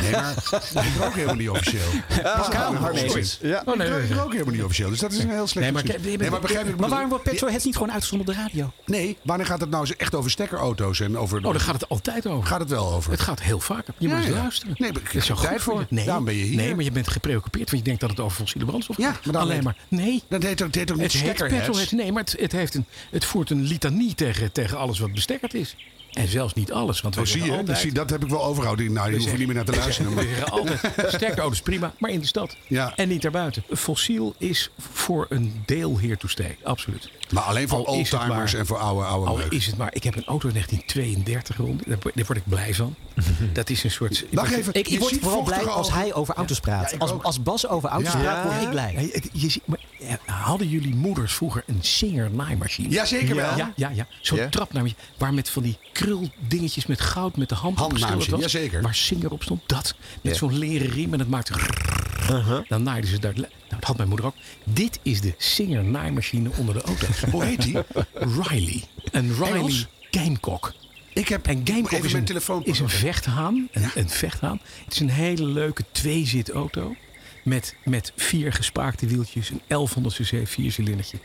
B: Nee, maar dat is ook helemaal niet officieel.
C: Pascal Harmeens.
B: Ja.
G: Oh, nee,
B: dat
G: nee,
B: is
G: nee.
B: ook helemaal niet officieel. Dus dat is een heel slecht
G: Nee, maar,
B: excuus.
G: nee,
B: Nee, maar begrijp ik
C: Maar waarom
B: bedoel-
C: wordt Petroheads niet gewoon uitgezonden op de radio?
B: Nee, wanneer gaat het nou eens echt over stekkerauto's en over...
G: Oh, daar gaat het altijd over.
B: Gaat het wel over?
G: Het gaat heel vaak. Je
B: Ja,
G: moet
B: ja.
G: luisteren.
B: Nee, maar ik
G: Dat is
B: heb
G: goed
B: tijd voor.
G: je. Nee,
B: Daarom ben je hier.
G: Nee, maar je bent gepreoccupeerd, want je denkt dat het over fossiele brandstof
B: Ja,
G: gaat.
B: maar dan
G: alleen
B: heet-
G: maar. Nee.
B: Dat heet ook, dat heet ook niet
G: Het heet
B: stekkerheads.
G: petrolhead. Nee, maar het, het, heeft een, het voert een litanie tegen, tegen alles wat bestekkerd is. En zelfs niet alles. Want we
B: Oh, zie je,
G: altijd, Dus
B: dat, zie, dat heb ik wel overhouden. Nou, je hoeft er niet meer naar te luisteren.
G: we
B: maar-
G: zeggen altijd, sterke auto's prima, maar in de stad.
B: Ja.
G: En niet daarbuiten. Fossiel is voor een deel here to stay. Absoluut.
B: Maar alleen voor
G: Al is het
B: oldtimers
G: maar-
B: en voor oude, oude
G: Al
B: meuk.
G: is het maar, ik heb een auto uit 1932 rond. Daar, daar word ik blij van. Dat is een soort...
B: Wacht even.
C: Ik,
B: je
C: ik word
B: ziet
C: vooral blij
B: vochtige
C: als
B: ogen.
C: hij over auto's praat. als, als Bas over auto's
B: Ja.
C: praat, word ik
G: Ja,
C: blij.
G: het- je ziet- maar, eh, hadden jullie moeders vroeger een Singer-naaimachine?
B: Jazeker wel.
G: Ja, ja, ja. Zo'n
F: Ja.
G: trapnaaimachine. Waar met van die kruldingetjes met goud met de hand op
B: Handnaaimachine,
G: geschilderd was.
B: jazeker.
G: Waar Singer op stond. Dat. Met zo'n leren riem en dat maakte... Dan naaiden ze daar... Nou, dat had mijn moeder ook. Dit is de Singer-naaimachine onder de auto's.
B: Hoe heet die?
G: Riley. Een Riley
B: Engels?
G: Gamecock.
B: Ik heb
G: En Gamecock
B: even
G: is
B: mijn
G: een,
B: telefoon
G: is een
B: pakken.
G: vechthaan. Een, een vechthaan. Het is een hele leuke tweezit auto. Met, met vier gespaakte wieltjes. Een 1100 cc viercilindertje.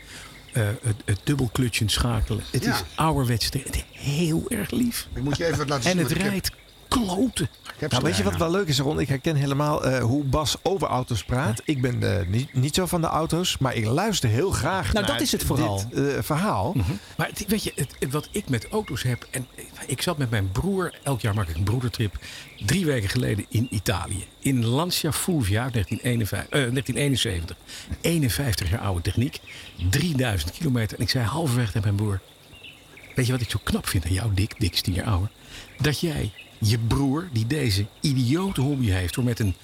G: eh het, het dubbelklutje schakelen. Het
B: Ja.
G: is ouderwets. te- Het is heel erg lief.
B: Ik moet je even wat laten zien.
G: En het
B: want ik heb-
G: rijdt kloten.
B: ik heb
F: Nou,
B: ze
F: weet je wat
B: bijna.
F: wel leuk is, Ron? Ik herken helemaal eh, hoe Bas over auto's praat. Ik ben eh, niet, niet zo van de auto's, maar ik luister heel graag
C: Nou,
F: naar
C: dat is het vooral.
F: dit eh,
B: Hm.
F: verhaal.
G: Maar het- weet je, het- het- wat ik met auto's heb. En ik zat met mijn broer, elk jaar maak ik een broedertrip. Drie weken geleden in Italië. In Lancia Fulvia uit 1951, eh, 1971. 51 jaar oude techniek. 3000 kilometer. En ik zei halverwege tegen mijn broer. Weet je wat ik zo knap vind aan jou, Dick? Dick is tien jaar ouder. Dat jij je broer, die deze idiote hobby heeft... door met een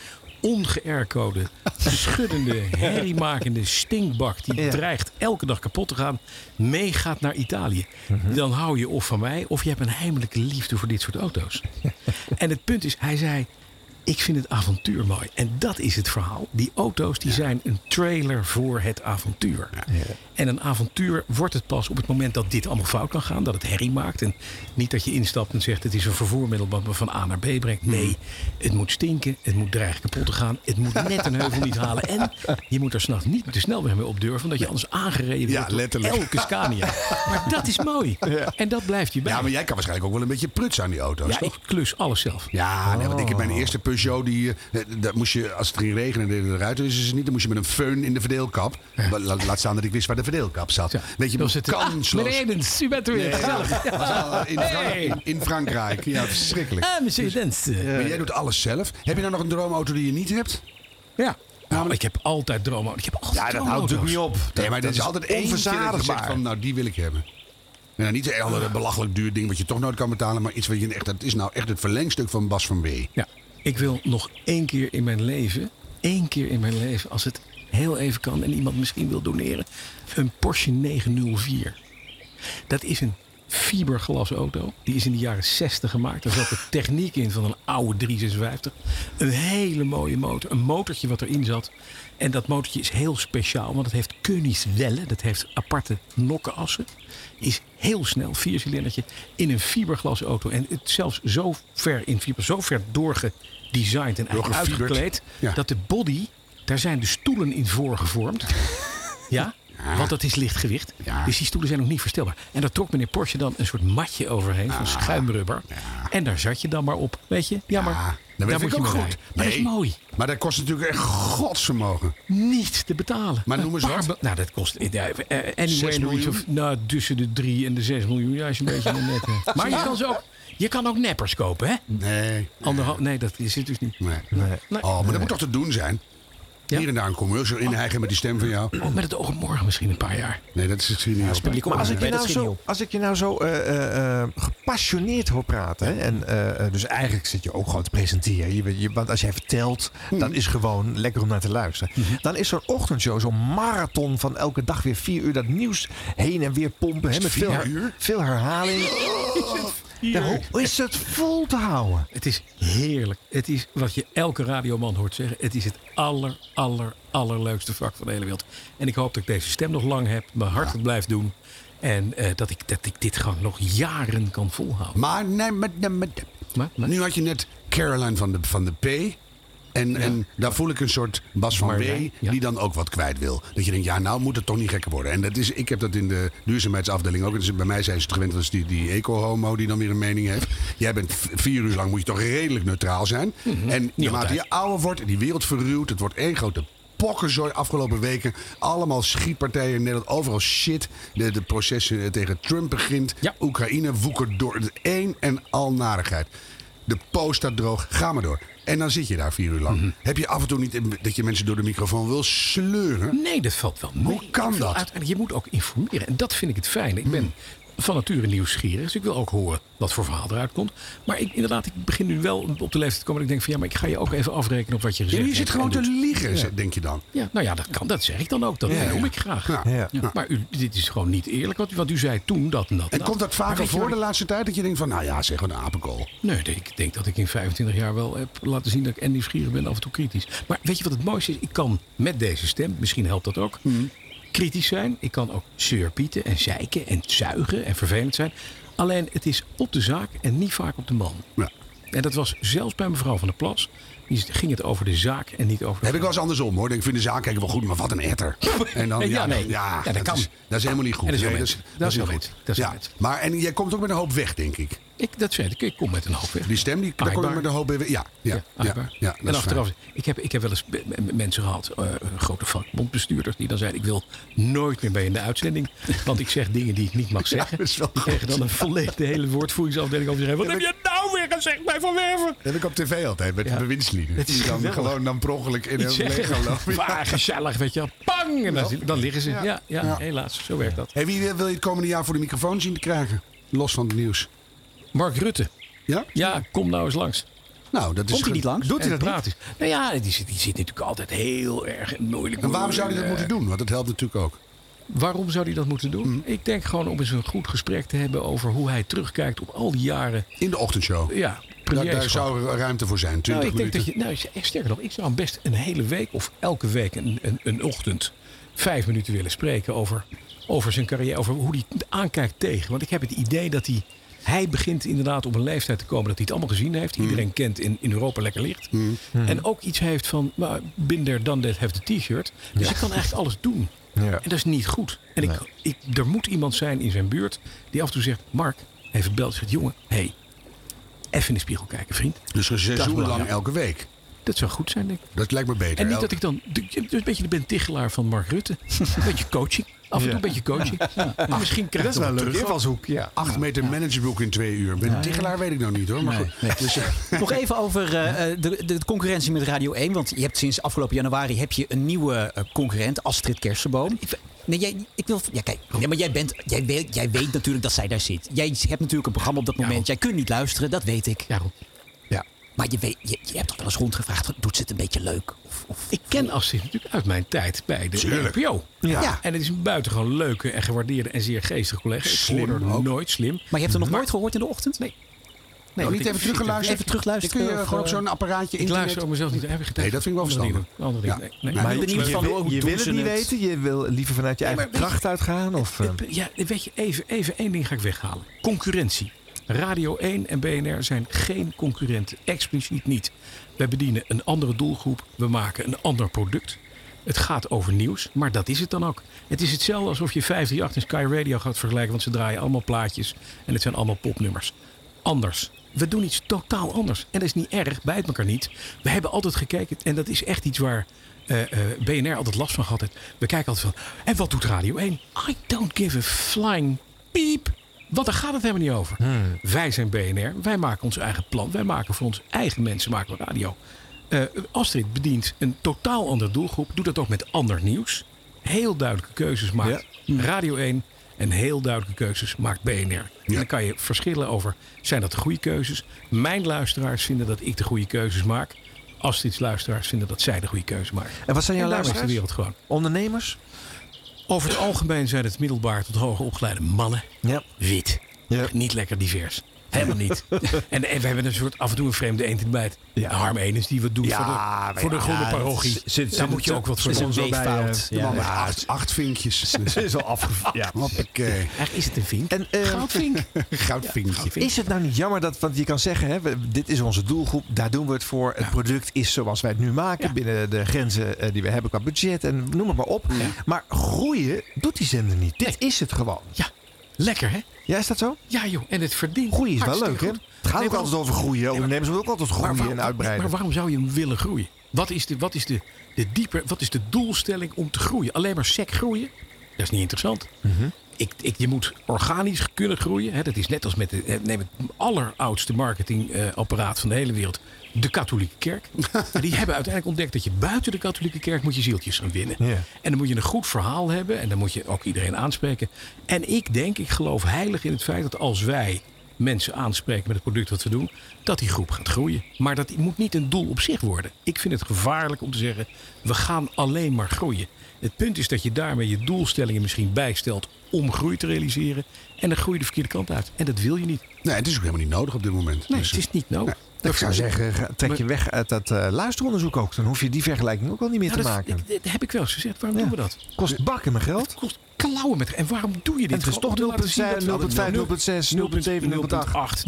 G: ongeërcode, schuddende, herriemakende stinkbak... die
F: Ja.
G: dreigt elke dag kapot te gaan, meegaat naar Italië. Dan hou je of van mij... of je hebt een heimelijke liefde voor dit soort auto's. en het punt is, hij zei... Ik vind het avontuur mooi. En dat is het verhaal. Die auto's die zijn een trailer voor het avontuur. En een avontuur wordt het pas op het moment dat dit allemaal fout kan gaan. Dat het herrie maakt. En niet dat je instapt en zegt het is een vervoermiddel wat me van A naar B
B: Hmm.
G: brengt. Nee, het moet stinken. Het moet dreigen kapot te gaan. Het moet net een heuvel niet halen. En je moet er s'nachts niet met de snelweg mee op durven. Omdat je anders aangereden
B: Ja,
G: wordt door
B: letterlijk.
G: elke Scania. Maar dat is mooi. En dat blijft je bij.
B: Ja, maar jij kan waarschijnlijk ook wel een beetje pruts aan die auto's,
G: Ja,
B: toch?
G: ik Oh. klus alles zelf.
B: Ja, nee, want ik heb mijn eerste Peugeot, die, eh, dat moest je, als het ging regenen deden de ruiten dus niet. Dan moest je met een föhn in de verdeelkap. La- Laat staan dat ik wist waar de verdeelkap zat.
G: Ja.
B: Weet je,
G: Dan zit het- Ah,
B: kansloos.
G: meneer Edens, u bent er weer.
B: Nee,
G: Gezellig.
B: dat was al eh, in, Frank-
G: Hey.
B: in, in Frankrijk. Ja, verschrikkelijk.
G: Ah, monsieur Edens.
B: Maar jij doet alles zelf. Heb je nou nog een droomauto die je niet hebt?
G: Ja. Nou, ik heb altijd dromen. Ik heb altijd droomauto's.
F: op.
B: Nee, maar dat is altijd eentje dat je zegt van, nou die wil ik hebben. En dan niet een ander belachelijk duur ding wat je toch nooit kan betalen. Maar iets wat je echt, dat is nou echt het verlengstuk van Bas van B.
G: Ja, ik wil nog één keer in mijn leven, één keer in mijn leven, als het heel even kan en iemand misschien wil doneren, een Porsche 904. Dat is een fiberglas auto. Die is in de jaren 60 gemaakt. Daar zat de techniek in van een oude 356. Een hele mooie motor. Een motortje wat erin zat. En dat motortje is heel speciaal. Want het heeft Koenigswellen. Dat heeft aparte nokkenassen. Is heel snel. Viercilindertje. In een fiberglas auto. En het zelfs zo ver in fiber. Zo ver doorgedesigned en eigenlijk
B: Doorgefiberd.
G: uitgekleed.
B: Ja.
G: Dat de body. Daar zijn de stoelen in voorgevormd. Ja? Want dat is lichtgewicht.
B: Ja.
G: Dus die stoelen zijn ook niet verstelbaar. En daar trok meneer Porsche dan een soort matje overheen
B: Ah.
G: van schuimrubber. En daar zat je dan maar op. Weet je? Jammer.
B: Ah, dat
G: daar
B: vind
G: moet
B: ik
G: je
B: ook
G: mee
B: goed.
G: rijden. Maar dat is mooi.
B: Maar dat kost natuurlijk echt godsvermogen.
G: Niet te betalen.
B: Maar noem eens
G: Een paar
B: wat.
G: be- Nou, dat kost... eh, eh, eh, anyway,
B: Zes
G: in the range of- nou, tussen de 3 en de 6 miljoen. Ja, als je een beetje een net hebt. Maar je kan, ze ook, je kan ook neppers kopen, hè?
B: Nee.
G: Anderhal, nee, dat is het dus niet.
B: Nee.
G: Nee.
B: Oh, maar dat moet toch te doen zijn?
G: Ja.
B: Hier en daar een commercial inheigen met die stem van jou.
G: Oh, met het oog op morgen misschien een paar jaar.
B: Nee, dat is het niet. op.
C: Publiek
F: Maar als ik, je
C: Nee, dat
F: nou
C: schiet niet
F: zo,
C: op.
F: als ik je nou zo eh, eh, eh, gepassioneerd hoor praten. Hè, en, eh, eh, dus eigenlijk zit je ook gewoon te presenteren. Je, bent- je, want als jij vertelt,
C: Hmm.
F: dan is gewoon lekker om naar te luisteren.
C: Mhm.
F: Dan is zo'n ochtendshow, zo'n marathon van elke dag weer vier uur dat nieuws heen en weer pompen. Hè, met
B: vier
F: veel, her-
B: uur?
F: veel herhaling. Ja, hoe- hoe is het vol te houden?
G: Het is heerlijk. Het is wat je elke radioman hoort zeggen. Het is het aller, aller, allerleukste vak van de hele wereld. En ik hoop dat ik deze stem nog lang heb. Mijn hart het blijft doen. En eh, dat, ik, dat ik dit gewoon nog jaren kan volhouden.
B: Maar, nee, maar, nee, maar-
G: Maar, maar-
B: nu had je net Caroline van de, van de P. En, en daar voel ik een soort Bas van W.
G: Marwij, ja.
B: die dan ook wat kwijt wil. Dat je denkt, ja, nou moet het toch niet gekker worden. En dat is, ik heb dat in de duurzaamheidsafdeling ook. Dus bij mij zijn ze het gewend, dat is die, die eco-homo die dan weer een mening heeft. Jij bent v- vier uur lang, moet je toch redelijk neutraal zijn.
G: Mhm.
B: En naarmate
G: altijd.
B: je ouder wordt, en die wereld verruwt, het wordt één grote pokkenzooi afgelopen weken. Allemaal schietpartijen in Nederland, overal shit. De, de processen eh, tegen Trump begint.
G: Ja.
B: Oekraïne woekert door het een en al narigheid. De post staat droog, ga maar door. En dan zit je daar vier uur lang.
G: Mhm.
B: Heb je af en toe niet in- dat je mensen door de microfoon wil sleuren?
G: Nee, dat valt wel mee.
B: Hoe kan
G: Ik wil
B: dat? Hmm.
G: Uiteindelijk, je moet ook informeren. En dat vind ik het fijn. Ik ben van nature nieuwsgierig. Dus ik wil ook horen wat voor verhaal eruit komt. Maar ik, inderdaad, ik begin nu wel op de leeftijd te komen. Dat ik denk van ja, maar ik ga je ook even afrekenen op wat je gezegd
B: Ja,
G: hebt.
B: je zit gewoon
G: en
B: te
G: doet.
B: liegen, ze- denk je dan.
G: Ja, nou ja, dat kan. Dat zeg ik dan ook. Dat
B: Ja,
G: noem
B: ja.
G: ik graag.
B: Ja.
F: Ja.
G: Ja, Maar u, dit is gewoon niet eerlijk. Wat u, wat u zei toen, dat en dat.
B: En komt dat vaker voor de
G: de
B: laatste tijd? Dat je denkt van, nou ja, zeg een apenkool.
G: Nee, ik denk dat ik in 25 jaar wel heb laten zien dat ik en nieuwsgierig ben en af en toe kritisch. Maar weet je wat het mooiste is? Ik kan met deze stem, misschien helpt dat ook,
B: Mhm.
G: kritisch zijn. Ik kan ook surpieten en zeiken en zuigen en vervelend zijn. Alleen het is op de zaak en niet vaak op de man.
B: Ja.
G: En dat was zelfs bij mevrouw van der Plas. Die ging het over de zaak en niet over de
B: Heb ik wel eens andersom hoor. Ik vind de zaak kijken wel goed, maar wat een etter. En dan, ja,
G: Ja, nee.
B: dan- ja,
G: Ja, dat
B: dat,
G: kan.
B: Is, dat is helemaal niet goed.
G: En dat is wel
B: Nee,
G: met- dat is wel met- dat is wel
B: ja.
G: met.
B: Maar en jij komt ook met een hoop weg, denk ik.
G: Ik, dat zei ik, ik kom met een hoop weg.
B: Die stem, die daar kom je
G: Aaibaar.
B: met een hoop weg. Ja, ja, ja, ja,
G: achtbaar.
B: dat
G: en
B: is
G: achteraf,
B: fijn.
G: ik heb, ik heb wel eens be- m- m- mensen gehad, eh, grote vakbondbestuurders, die dan zeiden: Ik wil nooit meer bij in de uitzending. Want ik zeg dingen die ik niet mag zeggen.
B: dat is wel
G: die kregen dan een volledig de hele woordvoeringsafdeling over zich heen. Wat heb je nou weer gezegd bij Van Werven?
B: Dat heb ik op tv altijd, met
G: Ja.
B: bewindslieden.
G: Het is
B: Die dan
G: geweldig.
B: gewoon dan per ongeluk in
G: Iets
B: een
G: zeggen.
B: leger lopen. Ja.
G: Waar gezellig, weet je wel. Pang! En dan, dan liggen ze. Ja, ja, helaas. Zo werkt dat.
B: Hey, wie wil je het komende jaar voor de microfoon zien te krijgen? Los van het nieuws.
G: Mark Rutte.
B: Ja?
G: Ja, kom nou eens langs.
B: Nou, dat is
C: Komt hij
B: ge-
C: niet langs?
G: Doet hij dat praat eens. Nou ja, die zit, die zit natuurlijk altijd heel erg moeilijk.
B: En waarom zou hij dat
G: Eh,
B: moeten doen? Want dat helpt natuurlijk ook.
G: Waarom zou hij dat moeten doen?
B: Mm.
G: Ik denk gewoon om eens een goed gesprek te hebben over hoe hij terugkijkt op al die jaren.
B: In de ochtendshow.
G: Ja,
B: Daar,
G: premierschap.
B: daar zou er ruimte voor zijn. 20
G: nou, ik denk
B: minuten.
G: dat je, nou, echt sterker nog, ik zou hem best een hele week of elke week een, een, een ochtend vijf minuten willen spreken over, over zijn carrière, over hoe hij aankijkt tegen. Want ik heb het idee dat hij, hij begint inderdaad op een leeftijd te komen dat hij het allemaal gezien heeft. Iedereen kent in, in Europa lekker licht. En ook iets heeft van, nou, binder dan that heeft de t-shirt. Dus hij kan eigenlijk alles doen.
F: Ja.
G: En dat is niet goed. En ik, ik, er moet iemand zijn in zijn buurt die af en toe zegt: Mark, even belt en zegt: Jongen, hé, hey, even in de spiegel kijken, vriend.
B: Dus een seizoen
G: wel,
B: lang
G: ja.
B: elke week.
G: Dat zou goed zijn, denk ik.
B: Dat lijkt me beter.
G: En niet
B: Elke-
G: dat ik dan. Dus een beetje de Ben Tichelaar van Mark Rutte. Een beetje coaching. Af en toe een beetje coaching. En misschien krijg
F: Dat is
G: ik
F: wel een
G: nog
F: leuke
G: terug.
F: invalshoek. Ja.
G: Oh,
B: Acht meter managerboek in twee uur. Met een Tichelaar weet ik nou niet hoor. Maar goed. Dus, eh,
C: Nog even over eh, eh, de, de concurrentie met Radio 1. Want je hebt sinds afgelopen januari heb je een nieuwe eh, concurrent, Astrid Kersenboom. Nee, jij, ik wil, ja, kijk, nee, maar jij, bent, jij, weet, jij weet natuurlijk dat zij daar zit. Jij hebt natuurlijk een programma op dat moment. Jij kunt niet luisteren, dat weet ik.
G: Ja, goed.
C: Maar je, weet, je, je hebt toch wel eens rondgevraagd, doet ze het een beetje leuk? Of, of,
G: Ik ken Astrid natuurlijk uit mijn tijd bij de
B: Tuurlijk.
G: NPO.
C: ja.
G: En het is een buitengewoon leuke en gewaardeerde en zeer geestige collega. Ik
B: Slim
G: hoor haar
B: ook.
G: nooit slim.
C: Maar je hebt het nog nooit gehoord in de ochtend? Nee.
B: nou,
G: want
B: niet
G: ik-
B: even teruggeluisterd.
C: Even terugluisteren
B: Dan kun je
C: of,
B: gewoon op
C: eh,
B: zo'n apparaatje
G: Ik
B: internet.
G: luister ook mezelf niet. Heb ik
B: Nee, dat vind ik wel
G: Andere
B: verstandig.
G: dingen. Andere dingen.
B: Ja.
G: Nee, nee.
B: Maar
C: Ik ben
F: je
C: niet van,
F: wil,
C: oh, hoe
F: je
C: doen
F: wil het
C: ze
F: niet
C: het?
F: weten, je wil liever vanuit je
G: Nee,
F: eigen
G: maar weet je-
F: kracht uitgaan? Of, eh,
G: Ja, weet je, even, even één ding ga ik weghalen. Concurrentie. Radio 1 en BNR zijn geen concurrenten. Expliciet niet. Wij bedienen een andere doelgroep. We maken een ander product. Het gaat over nieuws, maar dat is het dan ook. Het is hetzelfde alsof je 538 en Sky Radio gaat vergelijken... want ze draaien allemaal plaatjes en het zijn allemaal popnummers. Anders. We doen iets totaal anders. En dat is niet erg, bijt elkaar niet. We hebben altijd gekeken, en dat is echt iets waar eh, eh, BNR altijd last van gehad heeft. We kijken altijd van, en wat doet Radio 1? I don't give a flying piep. Want daar gaat het helemaal niet over. Wij zijn BNR, wij maken ons eigen plan. Wij maken voor onze eigen mensen maken we radio. Eh, Astrid bedient een totaal andere doelgroep. Doet dat ook met ander nieuws. Heel duidelijke keuzes maakt
F: Hm.
G: Radio 1. En heel duidelijke keuzes maakt BNR. En dan kan je verschillen over, zijn dat de goede keuzes? Mijn luisteraars vinden dat ik de goede keuzes maak. Astrid's luisteraars vinden dat zij de goede keuze maken.
F: en eh? wat zijn jouw
G: en daarmee is de
F: luisteraars?
G: wereld gewoon.
F: Ondernemers?
G: Over het algemeen zijn het middelbaar tot hoger opgeleide mannen.
F: Ja.
G: Wit.
F: Ja.
G: Niet lekker divers. Helemaal niet. en, en we hebben een soort af en toe een vreemde eend in de bijt.
F: Ja.
G: Harm Enes die wat doet
F: Ja,
G: voor
F: maar
G: de, voor de
F: ja,
G: groene
F: dat
G: parochie.
F: zit- zit-
G: Daar
F: zit-
G: moet je ook wat voor
C: zit-
G: doen.
C: zit-
F: Zo bij, eh,
C: weeffout.
F: de
C: Ja.
F: man met
B: Ja,
F: aard.
B: acht, acht vinkjes.
F: Ze is al afge... Ja.
B: Hoppakee.
G: Eigenlijk is het een vink.
F: En, eh,
G: Goudvink.
B: Goudvinkje.
G: Goudvink.
F: Is het nou niet jammer dat, want je kan zeggen, hè, we- dit is onze doelgroep, daar doen we het voor. Het product is zoals wij het nu maken,
G: Ja.
F: binnen de grenzen eh, die we hebben qua budget en noem het maar op. Maar groeien doet die zender niet. Dit is het gewoon.
G: Ja, lekker hè?
F: Ja, is dat zo?
G: Ja joh, en het verdient.
F: Groeien is wel leuk,
G: hartstikke
F: hè?
G: goed.
F: Het gaat
G: Nee,
F: ook
G: maar-
F: altijd over groeien. Ondernemers willen ook altijd groeien en uitbreiden.
G: Maar waarom zou je hem willen groeien? Wat is, de, wat is, de, de dieper, wat is de doelstelling om te groeien? Alleen maar sec groeien? Dat is niet interessant.
F: Mhm.
G: ik, ik, je moet organisch kunnen groeien. Hè? Dat is net als met de, eh, neem het alleroudste marketingapparaat van de hele wereld. De katholieke kerk. En die hebben uiteindelijk ontdekt dat je buiten de katholieke kerk moet je zieltjes gaan winnen.
F: Ja.
G: En dan moet je een goed verhaal hebben. En dan moet je ook iedereen aanspreken. En ik denk, ik geloof heilig in het feit dat als wij mensen aanspreken met het product wat we doen, dat die groep gaat groeien. Maar dat moet niet een doel op zich worden. Ik vind het gevaarlijk om te zeggen, we gaan alleen maar groeien. Het punt is dat je daarmee je doelstellingen misschien bijstelt om groei te realiseren. En dan groei je de verkeerde kant uit. En dat wil je niet.
B: Nee, het is ook helemaal niet nodig op dit moment.
G: Nee,
B: Dus,
G: het is niet nodig.
F: ik zou zeggen, ga- trek je
G: Maar-
F: weg uit dat eh, luisteronderzoek ook. Dan hoef je die vergelijking ook wel niet meer
G: Nou,
F: te
G: dat,
F: maken.
G: ik- dat heb ik wel eens gezegd. Waarom
F: Ja.
G: doen we dat?
F: Kost bakken mijn geld.
G: Het kost klauwen met... En waarom doe je dit?
F: En het is
G: Gewoon
F: toch
G: om te laten zien dat we-
F: 0,5, 0,6, 0,7, 0,8.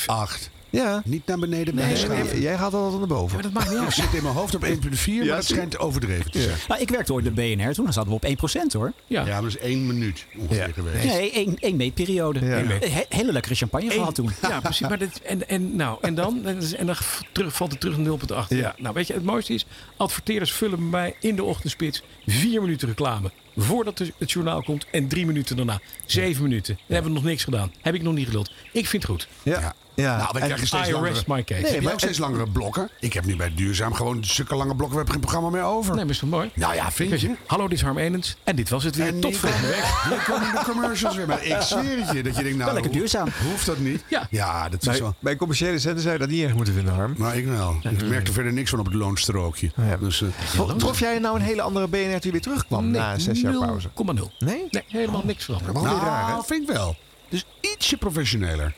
G: 0,8.
B: 8.
F: Ja.
B: Niet naar beneden.
G: Nee,
B: maar-
G: nee,
F: Jij- Jij gaat altijd naar boven.
G: Maar dat maakt niet
B: Ik
G: uit.
B: zit in mijn hoofd op 1,4, maar dat schijnt overdreven te zijn.
C: Nou, ik werkte ooit bij BNR, toen zaten we op 1% hoor.
G: Ja.
B: Ja, maar dat is één minuut ongeveer
F: Ja.
B: geweest.
C: Nee, één, één meetperiode.
F: Ja. Eén
G: meet.
C: He- hele lekkere champagne gehad toen.
G: Ja, precies. Maar dit, en, en, nou, en dan, en, dan- en dan terug, valt het terug naar 0,8. Ja. Nou, weet je, het mooiste is, adverteerders vullen bij mij in de ochtendspits vier minuten reclame. Voordat de- het journaal komt en drie minuten daarna. Zeven minuten. Dan hebben we nog niks gedaan. Heb ik nog niet geduld. Ik vind het goed.
F: Ja. ja.
B: Nou, we
F: En-
B: krijgen steeds
G: I
B: langere...
G: rest my case.
B: Heb
G: Nee,
B: jij ook steeds langere blokken? Ik heb nu bij Duurzaam gewoon zulke lange blokken. We hebben geen programma meer over.
G: maar is toch mooi?
B: Nou ja, vind je?
G: Hallo, dit is Harm Enens. En dit was het weer.
B: En
G: Tot
B: niet-
G: volgende week.
B: Hier komen de commercials weer. Maar ik zweer het je. Dat je denkt, nou,
C: Wel lekker
B: hoe-
C: duurzaam.
B: Hoeft dat niet?
G: Ja.
B: dat is
F: bij,
B: wel...
F: bij commerciële zender zou je dat niet erg moeten vinden, Harm.
B: Maar ik wel. Ik merkte verder niks van op het loonstrookje.
F: Ja.
B: Dus, eh,
F: Tro- Trof jij nou een hele andere BNR die weer terugkwam na zes jaar pauze?
G: 0,0.
F: Nee?
G: Nee, helemaal niks veranderd.
B: nou,
F: weer raar, hè?
B: vind ik wel. Dus ietsje professioneler.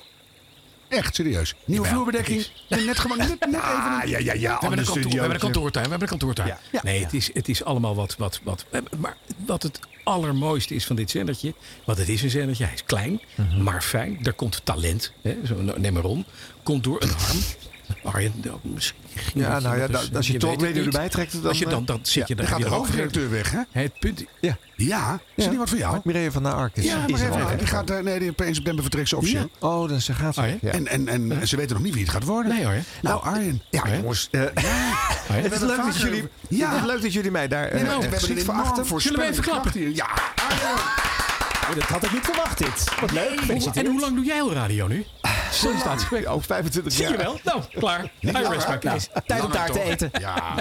B: Echt, serieus. Nieuwe
G: Jawel,
B: vloerbedekking. Net, gewoon, net, net even een-
F: ja, ja, ja.
G: We hebben, een kantoor, we hebben een
F: kantoor.
G: kantoortuin. We hebben een kantoortuin.
F: Ja.
G: Nee, het is, het is allemaal wat, wat, wat. eh, Maar wat het allermooiste is van dit zendertje. Want het is een zendertje. Hij is klein,
F: Mhm.
G: maar fijn. Daar komt talent. Hè, zo, nou, neem maar om. Komt door een arm. Arjen, nou, misschien ging
F: Ja,
G: dat
F: nou ja,
G: iemand eens-
F: da- als je Talk
G: weet het
F: Radio
G: niet.
F: erbij trekt, dan,
G: Als je dan,
F: eh,
G: dan zit je
B: Dan
G: daar.
B: gaat de hoofdredacteur weg, hè?
G: Het punt.
F: Ja.
B: Ja. Is er niet wat voor jou?
F: Mireille van der Ark is,
B: Ja, maar
F: is er
B: even,
F: al.
B: die gaat, eh, nee, die, per 1 september vertrekt ze officieel.
F: Oh, dan ze gaat ze.
G: Oh, ja?
F: ja.
B: En, en, en ze weten nog niet wie het gaat worden.
G: Nee hoor. hè.
B: Nou, Arjen.
F: Ja,
G: hè?
F: jongens. eh, het, is leuk dat
B: vaker
F: jullie,
B: over- Ja.
F: het is leuk dat jullie mij daar eh,
B: Nee, nou,
F: eh,
B: we hebben
F: geschikt
B: een
F: voor
B: enorm
F: achter.
G: Zullen we even klappen?
B: voorspelling. Ja.
C: Dat had ik niet verwacht dit. Wat leuk.
G: Oh, En hoe lang doe jij al radio nu? Sollicitatiegesprek.
F: Ook 25
G: Zie
F: jaar.
G: je wel? Nou, klaar. I rest my case.
C: Tijd om taart te
B: toch?
C: eten.
B: Ja.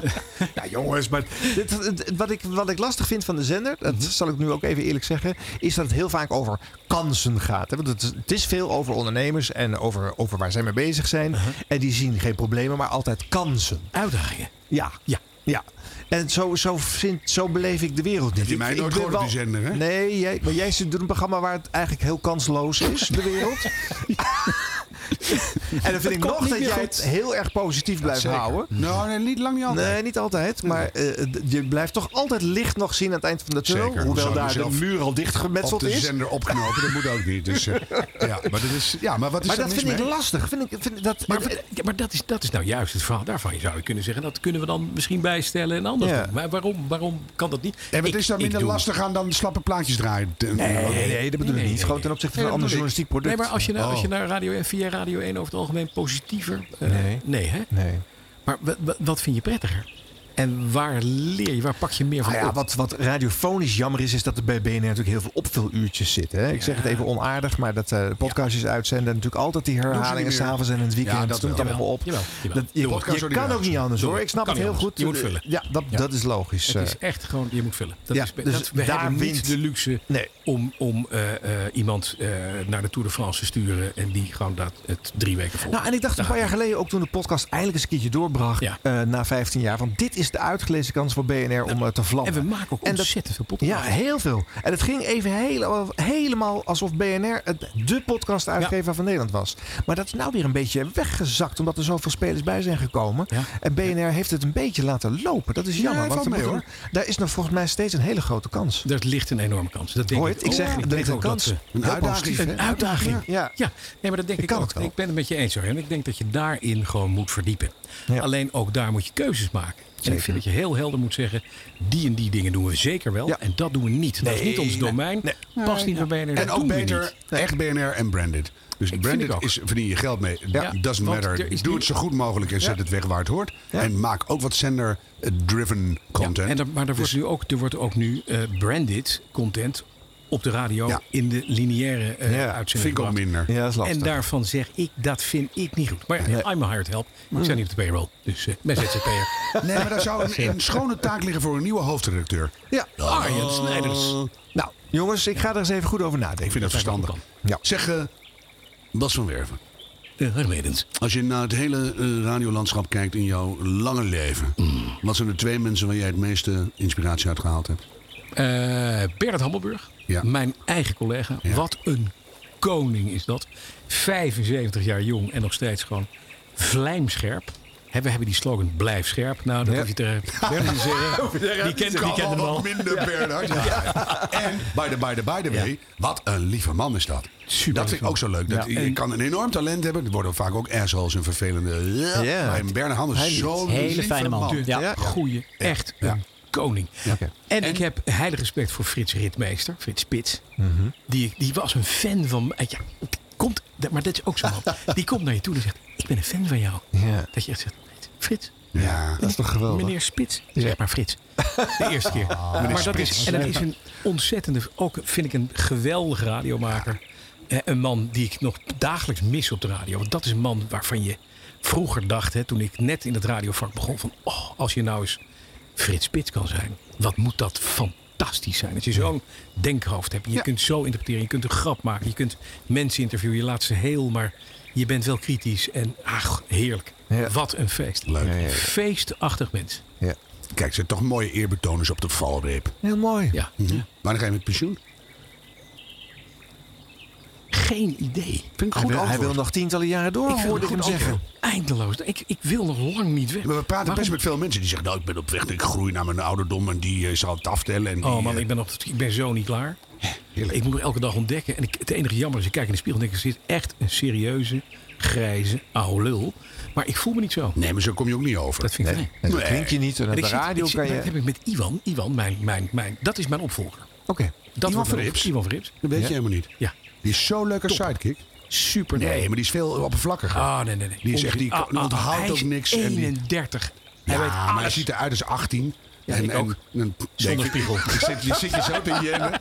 F: Ja, jongens, maar dit, het- wat, ik, wat ik lastig vind van de zender, dat
B: Mhm.
F: zal ik nu ook even eerlijk zeggen, is dat het heel vaak over kansen gaat. hè. Want het, is- het is veel over ondernemers en over, over waar zij mee bezig zijn.
B: Mhm.
F: En die zien geen problemen, maar altijd kansen.
G: Uitdagingen.
F: Ja.
G: Ja.
F: Ja. En zo, zo, vind, zo beleef ik de wereld niet.
B: je
F: Ik-
B: mij
F: ik
B: nooit
F: ben
B: gehoord op die zender, hè?
F: Nee, jij, maar jij zit in een programma waar het eigenlijk heel kansloos is, de wereld. en dan vind ik
C: komt
F: nog
C: niet
F: dat
C: meer
F: jij
C: goed.
F: het heel erg positief blijft
B: Zeker.
F: houden.
B: Nou, nee, niet lang niet altijd.
F: Oh. Nee, niet altijd. Maar eh, d- je blijft toch altijd licht nog zien aan het eind van de tunnel.
B: Zeker. Hoe
F: Hoewel
B: zou
F: daar
B: je
F: de
B: zelf
F: muur al dicht
B: op
F: gemetseld
B: de
F: is.
B: zender opknopen, dat moet ook niet. Dus, eh, ja, maar, dat is, ja, maar wat is
F: Maar
B: daar
F: dat
B: mis
F: vind ik
B: mee?
F: lastig. Vind ik, vind ik dat,
G: Maar, ja, maar dat, is, dat is nou juist het verhaal daarvan. Je zou je kunnen zeggen, dat kunnen we dan misschien bijstellen en anders
F: Ja.
G: doen. Maar waarom, waarom kan dat niet?
B: En wat
G: Ik-
B: is daar
G: ik
B: minder
G: doe-
B: lastig aan dan slappe plaatjes draaien?
F: nee, nee, dat bedoel ik niet.
G: nee, nee,
F: Gewoon
G: nee.
F: ten opzichte van
B: Nee,
F: een ander
B: dat bedoel
F: journalistiek product.
G: Nee, maar als je, nou, als je
B: Oh.
G: naar radio, via Radio 1 over het algemeen positiever... eh,
F: Nee.
G: hè?
F: Nee.
G: Maar wa- wa- wat vind je prettiger? En waar leer je, waar pak je meer van
F: Nou ja,
G: op?
F: wat, wat radiofonisch jammer is, is dat er bij BNR natuurlijk heel veel opvuluurtjes zitten. Hè? Ik zeg het even onaardig, maar dat eh podcastjes uitzenden. en Natuurlijk altijd die herhalingen
B: niet meer.
F: s'avonds en in het weekend.
B: Ja, dat
F: dat doet
B: wel.
F: allemaal op.
G: Jawel, jawel.
F: Dat, je
G: Doe
B: het.
F: je
B: Podcast
F: kan
B: ook
F: ook niet
B: niet
F: anders hoor.
G: Doe
F: Ik
G: het.
F: snap
G: Kan
F: het heel
G: niet
F: goed. Eh,
G: anders. Je moet vullen.
F: Ja, dat,
G: Ja.
F: dat is logisch.
G: Het
F: eh.
G: is echt gewoon, je moet vullen. Dat
F: Ja,
G: is,
F: dus
G: dat, we
F: daar
G: hebben
F: wint-
G: niet de luxe
F: Nee.
G: om, om eh, eh, iemand eh, naar de Tour de France te sturen... en die gewoon dat, het drie weken volgt.
F: Nou, en ik dacht een paar jaar geleden ook toen de podcast eindelijk eens een keertje doorbracht.
G: Ja.
F: eh, na 15 jaar. Van dit is is de uitgelezen kans voor BNR om
G: Nou,
F: eh, te vlammen.
G: En we maken ook
F: En dat-
G: ontzettend veel
F: Ja,
G: podcasts.
F: heel veel. En het ging even helemaal, helemaal alsof BNR het, de podcastuitgever van Nederland was. Maar dat is nou weer een beetje weggezakt, omdat er zoveel spelers bij zijn gekomen.
G: Ja.
F: En BNR heeft het een beetje laten lopen. Dat is jammer,
B: het
F: want
B: valt
F: er
B: mee,
F: moet een- daar is nog volgens mij steeds een hele grote kans.
G: Dat ligt een enorme kans. Dat denk
F: Hoor je
G: ik
F: het? Ik
G: ook.
F: zeg, er
G: Ik
F: ligt
G: denk
F: een
G: ook dat,
F: kans.
G: eh,
B: Een
F: Heel
B: uitdaging.
F: positief,
B: hè?
G: Een uitdaging.
F: Ja.
G: ja, nee, maar dat denk ik,
F: kan
G: ook.
F: het wel.
G: Ik ben het met je eens hoor. En ik denk dat je daarin gewoon moet verdiepen.
F: Ja.
G: Alleen ook daar moet je keuzes maken. En ik
F: Zeker.
G: vind dat je heel helder moet zeggen, die en die dingen doen we zeker wel.
F: Ja.
G: En dat doen we niet. dat is
F: Nee,
G: niet ons
F: nee,
G: domein. Past niet bij BNR.
B: En
G: dat
B: ook
G: doen we
B: beter,
G: niet.
B: echt BNR en branded. Dus
G: vind ik
B: branded
G: ook.
B: is, verdien je geld mee.
F: Ja,
B: Doesn't
G: want er
B: matter.
G: is
B: Doe
G: nu-
B: het zo goed mogelijk en zet het weg waar het hoort. En maak ook wat sender-driven content. Dus
G: En er, maar er wordt
F: Dus-
G: nu ook, er wordt ook nu eh, branded content op de radio
B: Ja.
G: in de lineaire eh
F: Ja,
G: uitzending.
B: Vind ik ook
G: gebracht.
B: minder.
F: Ja, dat is lastig.
G: En daarvan zeg ik, dat vind ik niet goed. Maar ja, I'm a hired help. Ik sta niet op de payroll. Dus eh ben ZZP'er.
B: Nee, maar daar zou een, een schone taak liggen voor een nieuwe hoofdredacteur.
F: Ja.
G: Arjen Snijders.
F: Nou, jongens, ik ga er eens even goed over
B: Ik
F: nadenken.
B: vind dat verstandig.
F: Ja.
B: Zeg, eh, Bas van Werven.
G: Eh, Hermedens.
B: Als je naar het hele eh, radiolandschap kijkt in jouw lange leven.
G: Mm.
B: Wat zijn de twee mensen waar jij het meeste inspiratie uit gehaald hebt?
G: Eh Bernard Hammelburg,
B: Ja.
G: mijn eigen collega.
B: Ja.
G: Wat een koning is dat. 75 jaar jong en nog steeds gewoon vlijmscherp. Hè, We hebben die slogan blijf scherp. Nou, dat
F: Ja.
G: hoef je te te zeggen. Die kent die kent hem
B: Kan
G: al.
B: wat minder, Bernard. Ja. En, by the, by the, by the way, wat een lieve man is dat.
G: Super
B: dat
G: lief
B: vind ik
G: man.
B: ook zo leuk. Dat,
G: Ja,
B: Je
G: en-
B: kan een enorm talent hebben. Er worden vaak ook assholes en vervelende...
F: Ja.
B: Maar Bernard Hammelburg is
F: Hij
B: zo'n
C: Hele
B: lieve
C: fijne man.
B: man.
C: Ja.
F: Ja.
G: Goeie, echt een
B: Ja.
G: koning.
F: Oké.
G: En, ik heb heilig respect voor Frits Ritmeester, Frits Spits. Die, die was een fan van mij. Ja, komt, maar dat is ook zo man. Die komt naar je toe en zegt, ik ben een fan van jou.
F: Ja.
G: Dat je echt zegt, Frits,
B: Ja.
F: Dat is toch geweldig?
G: meneer Spits. Zeg maar Frits. De eerste keer. maar dat is, en dat is een ontzettende, ook vind ik een geweldige radiomaker. Eh, Een man die ik nog dagelijks mis op de radio. Want dat is een man waarvan je vroeger dacht, hè, toen ik net in het radiovak begon, van oh, als je nou eens Frits Spits kan zijn. Wat moet dat fantastisch zijn. Dat je zo'n denkhoofd hebt. Je kunt zo interpreteren. Je kunt een grap maken. Je kunt mensen interviewen. Je laat ze heel, maar je bent wel kritisch. En ach, heerlijk.
F: Ja.
G: Wat een feest.
B: Leuk.
F: ja, ja.
G: Feestachtig mens.
F: Ja.
B: Kijk, er zitten toch mooie eerbetones op de valreep.
F: Heel mooi.
G: Ja.
B: Wanneer ga je met pensioen?
G: Geen idee.
B: Vind ik een
F: Hij
B: goed
F: wil, hij wil
B: antwoord.
F: nog tientallen jaren door,
G: Ik
F: hoorde ik hem zeggen.
G: Eindeloos. Ik, ik wil nog lang niet weg.
B: Maar we praten
G: Waarom?
B: best met veel mensen die zeggen... nou, ik ben op weg, ik groei naar mijn ouderdom... en die eh, zal het aftellen. En die,
G: Oh man,
B: eh,
G: ik ben, nog, ik ben zo niet klaar.
B: heerlijk.
G: Ik moet nog elke dag ontdekken. En ik, het enige jammer is, ik kijk in de spiegel en denk... ik, er zit echt een serieuze, grijze, oude lul. Maar ik voel me niet zo.
B: Nee, maar zo kom je ook niet over.
G: Dat vind ik nee.
F: Nee, dat
B: Nee.
F: klinkt je niet. En op
G: En
F: de
G: ik zit-
F: radio
G: ik zit-
F: kan
G: Dat heb
F: je...
G: ik met Iwan. Iwan, mijn, mijn, mijn, dat is mijn opvolger.
F: Oké.
G: Dat wordt mijn
B: Verrips?
G: op- Iwan Verrips.
B: Dat weet je helemaal niet.
G: Ja.
B: Die is zo leuk als sidekick.
G: Super.
B: Nee, maar die is veel oppervlakkiger.
G: Ah, nee, nee, nee.
B: Die is echt- die
G: Onzin.
B: kan- onthoudt
G: hij
B: ook
G: is
B: niks en die-
G: 31. Hij
B: ja,
G: weet
B: maar hij
G: alles.
B: ziet eruit als 18.
G: Ja, ik ook.
B: dan
G: Zonder
B: denk ik,
G: spiegel.
B: Ik zit, je zit je zo te jemmen.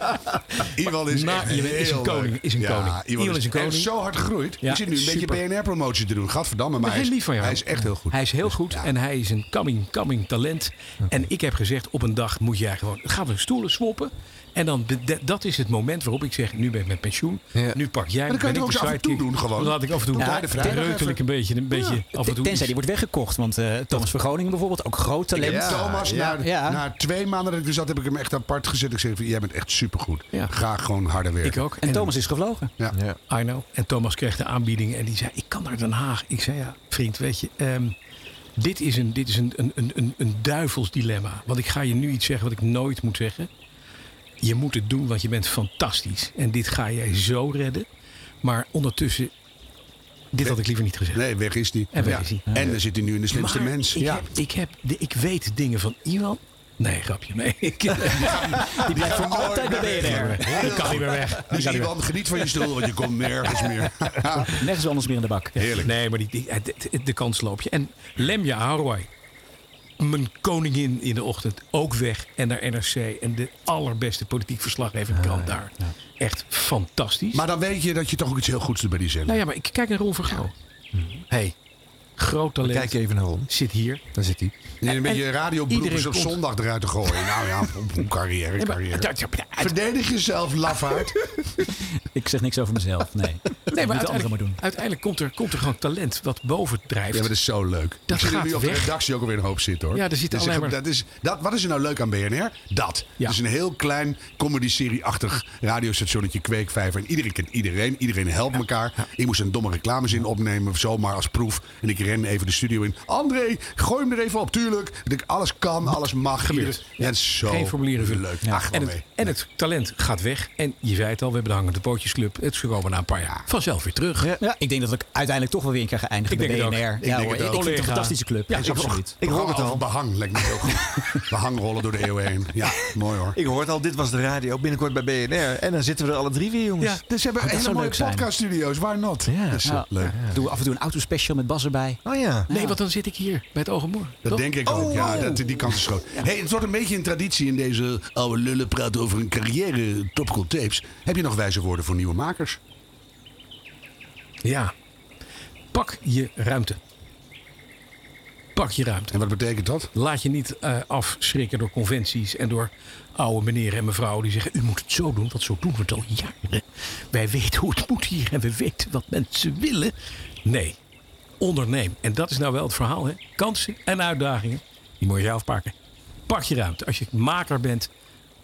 B: Iwan is
G: Nou,
B: echt
G: je bent- is een
B: heel
G: koning,
B: leuk.
G: is een koning.
B: Ja,
G: Iwan is een koning.
B: En zo hard gegroeid.
G: Ja,
B: je zit nu een beetje
G: super.
B: BNR-promotie te doen. Gadverdamme, maar
G: Maar
B: hij is,
G: heel lief van jou.
B: hij is echt heel goed. Dus
G: Hij is heel goed
B: ja.
G: en hij is een coming, coming talent. En ik heb gezegd, op een dag moet jij gewoon... Gaan we stoelen swappen? En dan, de- de- dat is het moment waarop ik zeg, nu ben ik met pensioen.
F: Ja.
G: Nu pak jij,
B: Maar dan kan
G: ben
B: je
G: ik
B: het ook
G: de
B: eens af en toe
G: sidekick.
B: doen gewoon.
G: Dan laat ik af en toe.
B: Doe
G: Ja,
B: daar de vraag
G: dan reukel ik
B: even.
G: een beetje, een beetje af en toe.
C: Tenzij die wordt weggekocht. Want eh, Thomas van Groningen bijvoorbeeld, ook groot
B: Ik
C: talent.
B: heb Thomas,
C: ja,
B: na,
C: ja.
B: na twee maanden dat ik er zat, heb ik hem echt apart gezet. Ik zeg, jij bent echt supergoed.
G: Ja.
B: Ga gewoon harder werken.
G: Ik ook.
C: En Thomas is gevlogen.
B: Ja.
F: Ja.
G: I know. En Thomas kreeg de aanbieding en die zei: Ik kan naar Den Haag. Ik zei: Ja, vriend, weet je, ehm, dit is, een, dit is een, een, een- een, een duivels dilemma. Want ik ga je nu iets zeggen wat ik nooit moet zeggen. Je moet het doen, want je bent fantastisch. En dit ga jij zo redden. Maar ondertussen, dit had ik liever niet gezegd.
B: Nee, weg is die.
G: En weg
B: Ja.
G: is die.
B: En dan zit hij nu in de slimste
G: Maar
B: mens.
G: Ik,
B: Ja.
G: heb, ik, heb, de- ik weet dingen van Iwan. Nee, grapje. Nee, ik,
C: Die blijft voor altijd bij BNR.
G: ik kan niet meer weg.
B: Dus
G: Die kan niet meer
B: Iwan, geniet van je stoel, want je komt nergens meer.
C: Nergens anders meer in de bak.
B: Heerlijk.
G: Nee, maar die, die- eh, de, de- de kans loop je. En Lemja Harouai. Mijn koningin in de ochtend. Ook weg. En naar NRC. En de allerbeste politiek verslaggever kan daar. Echt fantastisch.
B: Maar dan weet je dat je toch ook iets heel goeds doet bij die zender.
G: nou ja, maar ik kijk naar Ron Vergaal. Hey, groot talent.
B: eh,
F: Kijk even naar rond.
G: Zit hier.
F: Daar zit hij.
B: en een beetje
G: en
B: radiobroekers
G: iedereen
B: op
G: komt.
B: zondag eruit te gooien. Nou ja, op- op- op carrière,
G: Nee, maar-
B: carrière.
G: dat- dat- dat-
B: Verdedig jezelf, lafaard.
C: Ik zeg niks over mezelf, nee. Nee, maar
G: maar
C: dat anderen maar doen.
G: uiteindelijk komt er, komt er gewoon talent wat boven drijft.
B: Ja, maar dat is zo leuk.
G: Dat
B: Misschien
G: gaat
B: nu op de
G: weg.
B: redactie ook alweer een hoop zitten hoor.
G: Ja, er zitten
B: Dat is
G: alleen
B: echt-
G: maar-
B: dat is, dat, Wat is er nou leuk aan BNR? Dat.
G: Ja.
B: Het is een heel klein comedy-serie-achtig radiostationnetje kweekvijver. En iedereen kent iedereen. Iedereen helpt elkaar. Ik moest een domme reclamezin opnemen, zomaar als proef. En ik ren even de studio in. André, gooi hem er even op, tuurlijk. Ik denk, Alles kan, alles mag.
G: Gebeurt.
B: Ieder- Ja, het is zo
G: Geen formulieren vullen.
B: leuk.
G: Ja.
B: Ach,
G: en,
B: en
G: het, en het talent gaat weg. En je zei het al, we hebben de Hangende Pootjesclub. Het is gewoon na een paar jaar vanzelf weer terug.
C: Ja, ik denk dat ik uiteindelijk toch wel weer een keer ga eindigen
G: Ik
C: bij
G: denk het
C: BNR.
G: ook.
C: Ja,
B: denk
C: Nou, hoor,
B: het
C: ik
B: ook.
C: vind het een
G: Collega.
C: fantastische club. Ja, absoluut.
F: Ik hoor het al.
B: Behang lijkt me heel goed. Behangrollen door de eeuwen heen. Ja, mooi hoor.
F: Ik hoor het al, dit was de radio. Binnenkort bij BNR. En dan zitten we er alle drie weer, jongens.
B: Dus ze hebben
C: Ah, dat
B: hele
C: zou
B: mooie
C: leuk zijn.
B: podcaststudio's. Why not?
F: Ja.
B: Dat is eh,
C: Ja.
B: leuk.
C: Doe af en toe een autospecial met Bas erbij.
F: Oh ja.
G: Nee, want dan zit ik hier bij het Ogenmoor.
B: Dat denk ik ook, Oh. ja. Dat, die kans is groot. Hey, het wordt een beetje een traditie in deze oude lullen praten over een carrière topcool tapes. Heb je nog wijze woorden voor nieuwe makers?
G: Ja. Pak je ruimte. Pak je ruimte.
B: En wat betekent dat?
G: Laat je niet eh, afschrikken door conventies en door oude meneer en mevrouw die zeggen: U moet het zo doen, want zo doen we het al jaren. Wij weten hoe het moet hier en we weten wat mensen willen. Nee, onderneem. En dat is nou wel het verhaal: hè? kansen en uitdagingen, die moet je zelf pakken. Pak je ruimte. Als je maker bent,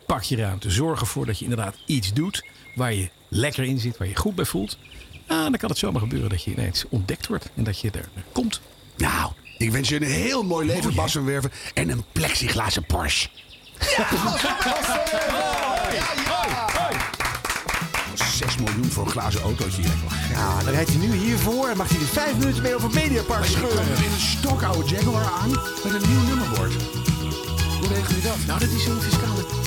G: pak je ruimte. Zorg ervoor dat je inderdaad iets doet waar je lekker in zit, waar je goed bij voelt. Ah, dan kan het zomaar gebeuren dat je ineens ontdekt wordt en dat je er komt.
B: Nou, ik wens je een heel mooi leven, Bas van Werven. En een plexiglazen Porsche. Ja, 6 miljoen voor een glazen autootje. hier.
F: Ja, dan rijdt hij nu hiervoor en mag hij er vijf minuten mee over Mediapark
B: Je kan
F: scheuren.
B: er in een stokoude Jaguar aan met een nieuw nummerbord.
G: Nou, dat is zo'n fiscale